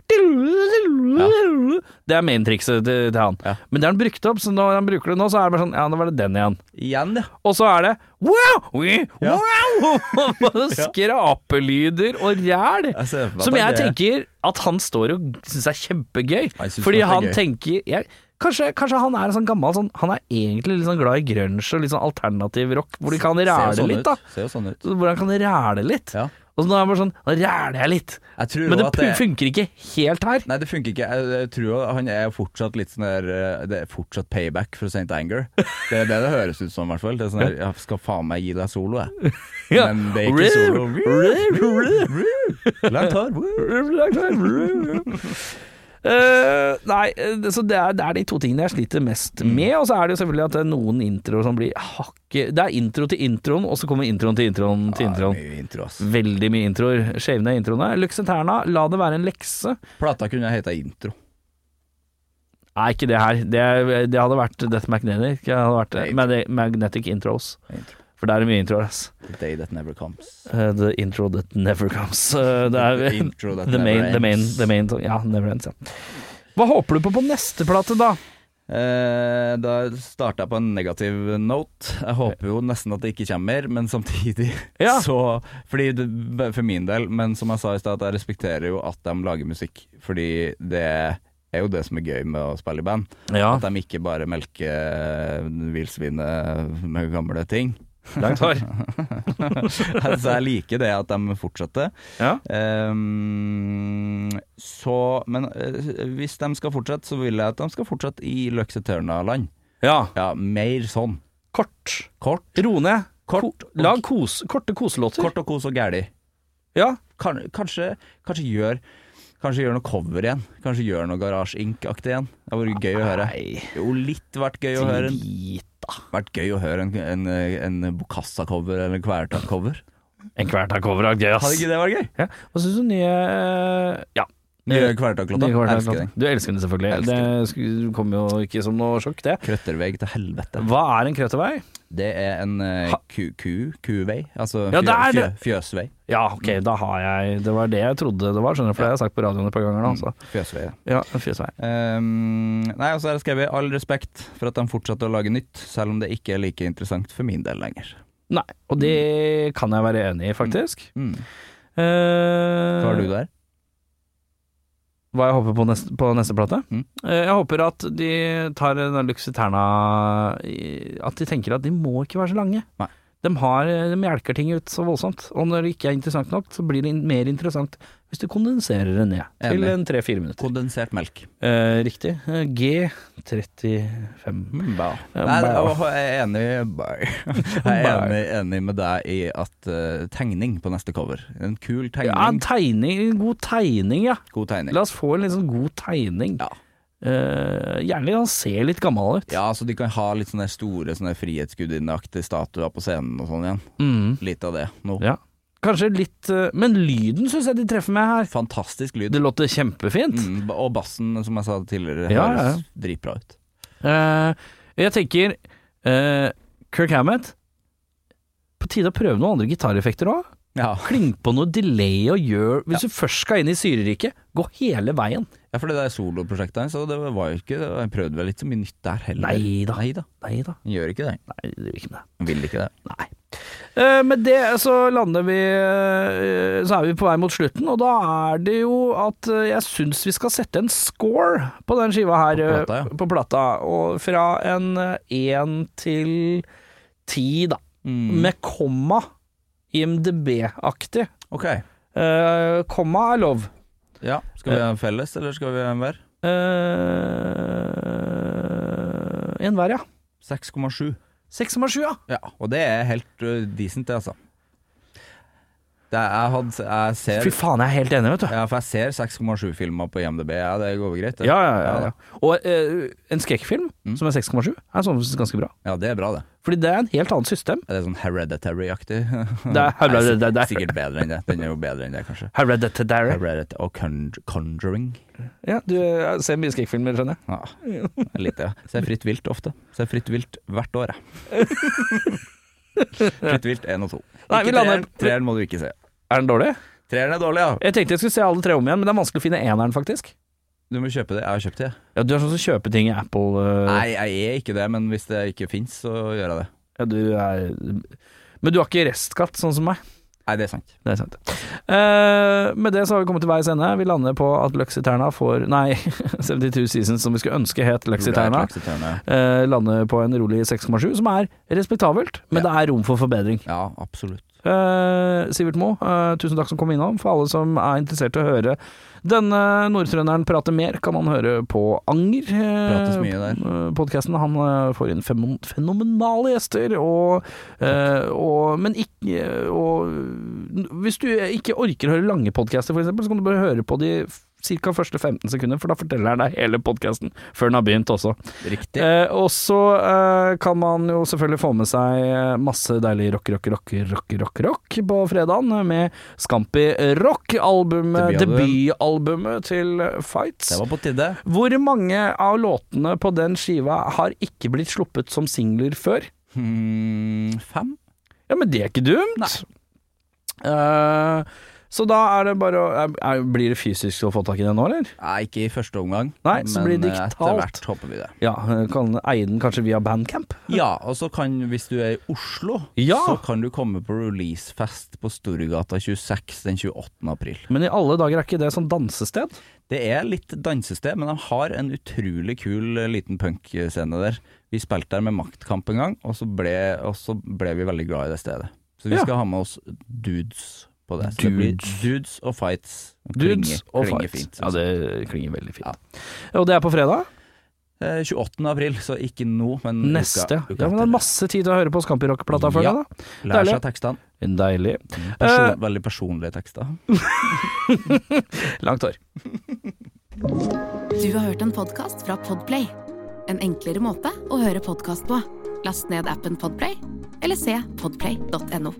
A: Det er maintrikset til, til han.
B: Ja.
A: Men det har han brukt opp, så når han bruker det nå, så er det bare sånn Ja, nå var det den igjen.
B: Igjen, ja.
A: Og så er det wow! we-
B: Ja.
A: wow! Bare Skrapelyder og ræl.
B: Jeg ser for meg
A: Som jeg
B: at det-
A: tenker at han står og syns er kjempegøy.
B: Jeg synes
A: Fordi
B: det er
A: han
B: gøy.
A: tenker jeg, kanskje, kanskje han er en sånn gammel sånn Han er egentlig litt sånn glad i grunge og litt sånn alternativ rock, hvor de kan
B: Ser
A: ræle
B: jo sånn
A: litt,
B: ut.
A: da.
B: Ser jo sånn ut.
A: Så Hvor han kan ræle litt.
B: Ja.
A: Og så nå er han bare sånn Nå ræler jeg litt.
B: Jeg tror
A: Men det,
B: også at det
A: funker ikke helt her.
B: Nei, det funker ikke. Jeg, jeg tror jo han er fortsatt litt sånn der eh, Det er fortsatt payback for St. Anger. Det er det det høres ut som, i hvert fall. Det er sånn der Jeg skal faen meg gi deg solo, jeg.
A: Ja.
B: Men det er ikke solo. Langt hår.
A: Eh, nei, eh, så det er, det er de to tingene jeg sliter mest med. Og så er det jo selvfølgelig at det er noen introer som blir hakket Det er intro til introen, og så kommer introen til introen til
B: Det er
A: introen.
B: mye intro, ass.
A: Veldig mye introer. Shave ned introene. Luxeterna, la det være en lekse.
B: Plata kunne heta Intro.
A: Nei, ikke det her. Det, det hadde vært Death Magnetic. Det hadde vært
B: Nei.
A: Mag- Magnetic Intros.
B: Intro.
A: For der er det mye introer, ass.
B: The day that never comes.
A: Eh, the intro that never comes. Eh, det er
B: Intro that
A: the
B: never
A: main, the main,
B: ends.
A: the main Ja, never ends, ja. Hva håper du på på neste plate, da?
B: Eh, da starta jeg på en negativ note. Jeg håper jo nesten at det ikke kommer, men samtidig
A: Ja.
B: så Fordi det, For min del, men som jeg sa i stad, at jeg respekterer jo at de lager musikk. Fordi det er jo det som er gøy med å spille i band.
A: Ja,
B: At de ikke bare melker villsvinet med gamle ting.
A: langt hår.
B: Så jeg liker det at de fortsetter.
A: Ja.
B: Ehm, så Men eh, hvis de skal fortsette, så vil jeg at de skal fortsette i Luxeterna-land.
A: ja.
B: Ja, mer sånn.
A: Kort.
B: Kort.
A: Ro ned.
B: Kort.
A: Ko lag kos korte koselåter.
B: Kort og kos og gæli.
A: Ja.
B: Kan, kanskje, kanskje gjør Kanskje gjør noe cover igjen. Kanskje gjør noe Garage Inc.-aktig igjen. Det hadde vært gøy å høre.
A: Nei,
B: Jo, litt vært gøy å høre en, vært gøy å høre en, en, en Bokassa-cover eller en Kvelertak-cover.
A: En Kvelertak-cover er gøy,
B: Hadde
A: ass.
B: ikke det vært gøy?
A: Ja. Hva syns du nye Ja.
B: Nye Kvelertak-låta.
A: Nye Kvelertak-låter.
B: Elsker den.
A: Du elsker den selvfølgelig.
B: Elsker den.
A: Det sk- kommer jo ikke som noe sjokk, det.
B: Krøtterveg til helvete.
A: Hva er en krøttervei?
B: Det er en eh,
A: Ha-
B: ku, ku, kuvei. Altså
A: Ja, det er
B: fjø, fjø,
A: det.
B: fjøsvei.
A: Ja, ok,
B: Mm.
A: da har jeg Det var det jeg trodde det var, skjønner du, for det har jeg sagt på radioen et par ganger nå. altså. Så.
B: Fjøsvei, Mm. ja.
A: Ja, fjes meg.
B: Ehm, nei, og så har jeg skrevet all respekt for at de fortsetter å lage nytt, selv om det ikke er like interessant for min del lenger.
A: Nei, og det kan jeg være enig i, faktisk.
B: Mm.
A: Eh,
B: Hva har du der?
A: hva jeg håper på neste, på neste plate?
B: Mm.
A: Eh, jeg håper at de tar den Luxiterna At de tenker at de må ikke være så lange.
B: Nei.
A: De, har, de melker ting ut så voldsomt, og når det ikke er interessant nok, så blir det in- mer interessant hvis du kondenserer det ned til
B: Enig.
A: en tre-fire minutter.
B: Kondensert melk.
A: Eh, riktig. Eh, G35.
B: Mm, ba.
A: Ja,
B: Nei,
A: ba.
B: og jeg er enig ba. Jeg er
A: Ba.
B: enig, enig med deg i at eh, tegning på neste cover. En kul tegning.
A: Ja, en tegning. En god tegning, ja.
B: God tegning.
A: La oss få en litt sånn god tegning.
B: Ja.
A: Eh, gjerne han ser litt gammel ut.
B: Ja, så de kan ha litt sånne store sånne frihetsgudinneaktige statuer på scenen og sånn igjen.
A: Mm.
B: Litt av det nå.
A: Ja. Kanskje litt eh, Men lyden syns jeg de treffer med her.
B: Fantastisk lyd.
A: Det låter kjempefint.
B: Mm, ba- og bassen, som jeg sa tidligere,
A: Ja, ja, ja.
B: høres dritbra ut.
A: Eh, jeg tenker eh, Kirk Hammett På tide å prøve noen andre gitareffekter òg.
B: Ja.
A: Kling på noe delay og gjør Hvis du først skal inn i syreriket, gå hele veien.
B: Ja, for det der soloprosjektet hans, så det var jo ikke det var- Jeg prøvde vel ikke så mye nytt der heller.
A: Neida.
B: Neida.
A: Nei da.
B: Han Gjør ikke det.
A: Nei, det gjør ikke det.
B: Han vil ikke det.
A: Nei. Eh, Med det så lander vi eh, Så er vi på vei mot slutten, og da er det jo at eh, jeg syns vi skal sette en score på den skiva her. eh,
B: plata, ja.
A: På plata og fra en én til ti, da. Med komma. IMDb-aktig.
B: Ok.
A: Eh, komma er lov. Eh,
B: Ja. Skal vi ha en felles, eller skal vi ha en hver?
A: Uh, en hver, ja.
B: 6,7.
A: 6,7, ja.
B: Ja, og det er helt ø, decent, det, altså. Det er, jeg, hadde, jeg ser
A: Fy faen, jeg er helt enig, vet du.
B: Ja, for jeg ser 6,7-filmer på IMDb. Ja, det går greit. det.
A: Ja, ja, ja, ja. Og eh, en skrekkfilm som er 6,7, er sånn sett ganske bra.
B: Ja, det er bra, det.
A: Fordi det er en helt annet system.
B: Det er sånn hereditary-aktig.
A: Det er
B: Mm. Nei,
A: Hereditary.
B: sikk- Sikkert bedre enn det. Den er jo bedre enn det, kanskje.
A: Hereditary.
B: Heredit og Conj- Conjuring.
A: Ja, du eh, ser mye skrekkfilmer, skjønner jeg.
B: Ja, litt, ja. Ser fritt vilt ofte. Ser fritt vilt hvert år, jeg. fritt vilt én og to.
A: Nei, vi
B: Ikke
A: lander-
B: treeren. Treeren må du ikke se.
A: Er den dårlig?
B: Treeren er dårlig, ja.
A: Jeg tenkte jeg skulle se alle tre om igjen, men det er vanskelig å finne eneren, faktisk.
B: Du må kjøpe det. Jeg har kjøpt det. jeg.
A: Ja, Du er sånn som kjøper ting i Apple eh,
B: Nei, jeg er ikke det, men hvis det ikke fins, så gjør jeg det.
A: Ja, du er Men du har ikke restkatt, sånn som meg.
B: Nei, det er sant.
A: Det er sant. Eh, med det så har vi kommet til veis ende. Vi lander på at Luxiterna får Nei, 72 Seasons, som vi skulle ønske het Luxiterna.
B: Black Lexiterna, ja.
A: Eh, lande på en rolig 6,7, som er respektabelt, men det er rom for forbedring.
B: Ja, absolutt.
A: Eh, Sivert Moe, eh, tusen takk som kom innom. For alle som er interessert i å høre denne nordtrønderen prate mer, kan man høre på Anger.
B: Prates mye der.
A: Podkasten. Han eh, får inn fem- fenomenale gjester, og, eh, og Men ikke og, Hvis du ikke orker å høre lange podkaster, f.eks., så kan du bare høre på de ca. første 15 sekunder, for da forteller han deg hele podkasten før den har begynt også.
B: Riktig.
A: Eh, og så eh, kan man jo selvfølgelig få med seg eh, masse deilig rock, rock, rock, rock, rock, rock på fredagen eh, med Scampi Rock, albumet, debutalbumet til Fights.
B: Det var på tide.
A: Hvor mange av låtene på den skiva har ikke blitt sluppet som singler før?
B: Hmm, fem?
A: Ja, men det er ikke dumt. Eh, så da er det bare å er- er, Blir det fysisk å få tak i den nå, eller?
B: Nei, ikke i første omgang.
A: Nei, så blir det
B: eh,
A: digitalt.
B: etter hvert håper vi det.
A: Ja, eh, kan eie den kanskje via Bandcamp?
B: Ja, og så kan, hvis du er i Oslo,
A: Ja.
B: så kan du komme på releasefest på Storgata 26 den 28. april.
A: Men i alle dager er ikke det sånn dansested?
B: Det er litt dansested, men de har en utrolig kul eh, liten punkscene der. Vi spilte der med Maktkamp en gang, og så ble, og så ble vi veldig glad i det stedet. Så vi
A: Ja.
B: skal ha med oss dudes på det. Så det blir dudes og fights.
A: Dudes og
B: klinger
A: fights.
B: fint, synes
A: ja,
B: jeg.
A: det klinger veldig fint. Og det er på fredag?
B: Eh, 28. april, så ikke nå, men uka-
A: Neste. ja, men
B: uka
A: det
B: etter.
A: er masse tid til å høre på Scampirock-plata før
B: Ja.
A: det, da.
B: Lær
A: Deilig.
B: seg tekstene.
A: Deilig.
B: Person,
A: Eh.
B: veldig personlige tekster.
A: Langt hår.
E: Du har hørt en podkast fra Podplay. En enklere måte å høre podkast på. Last ned appen Podplay, eller se podplay.no.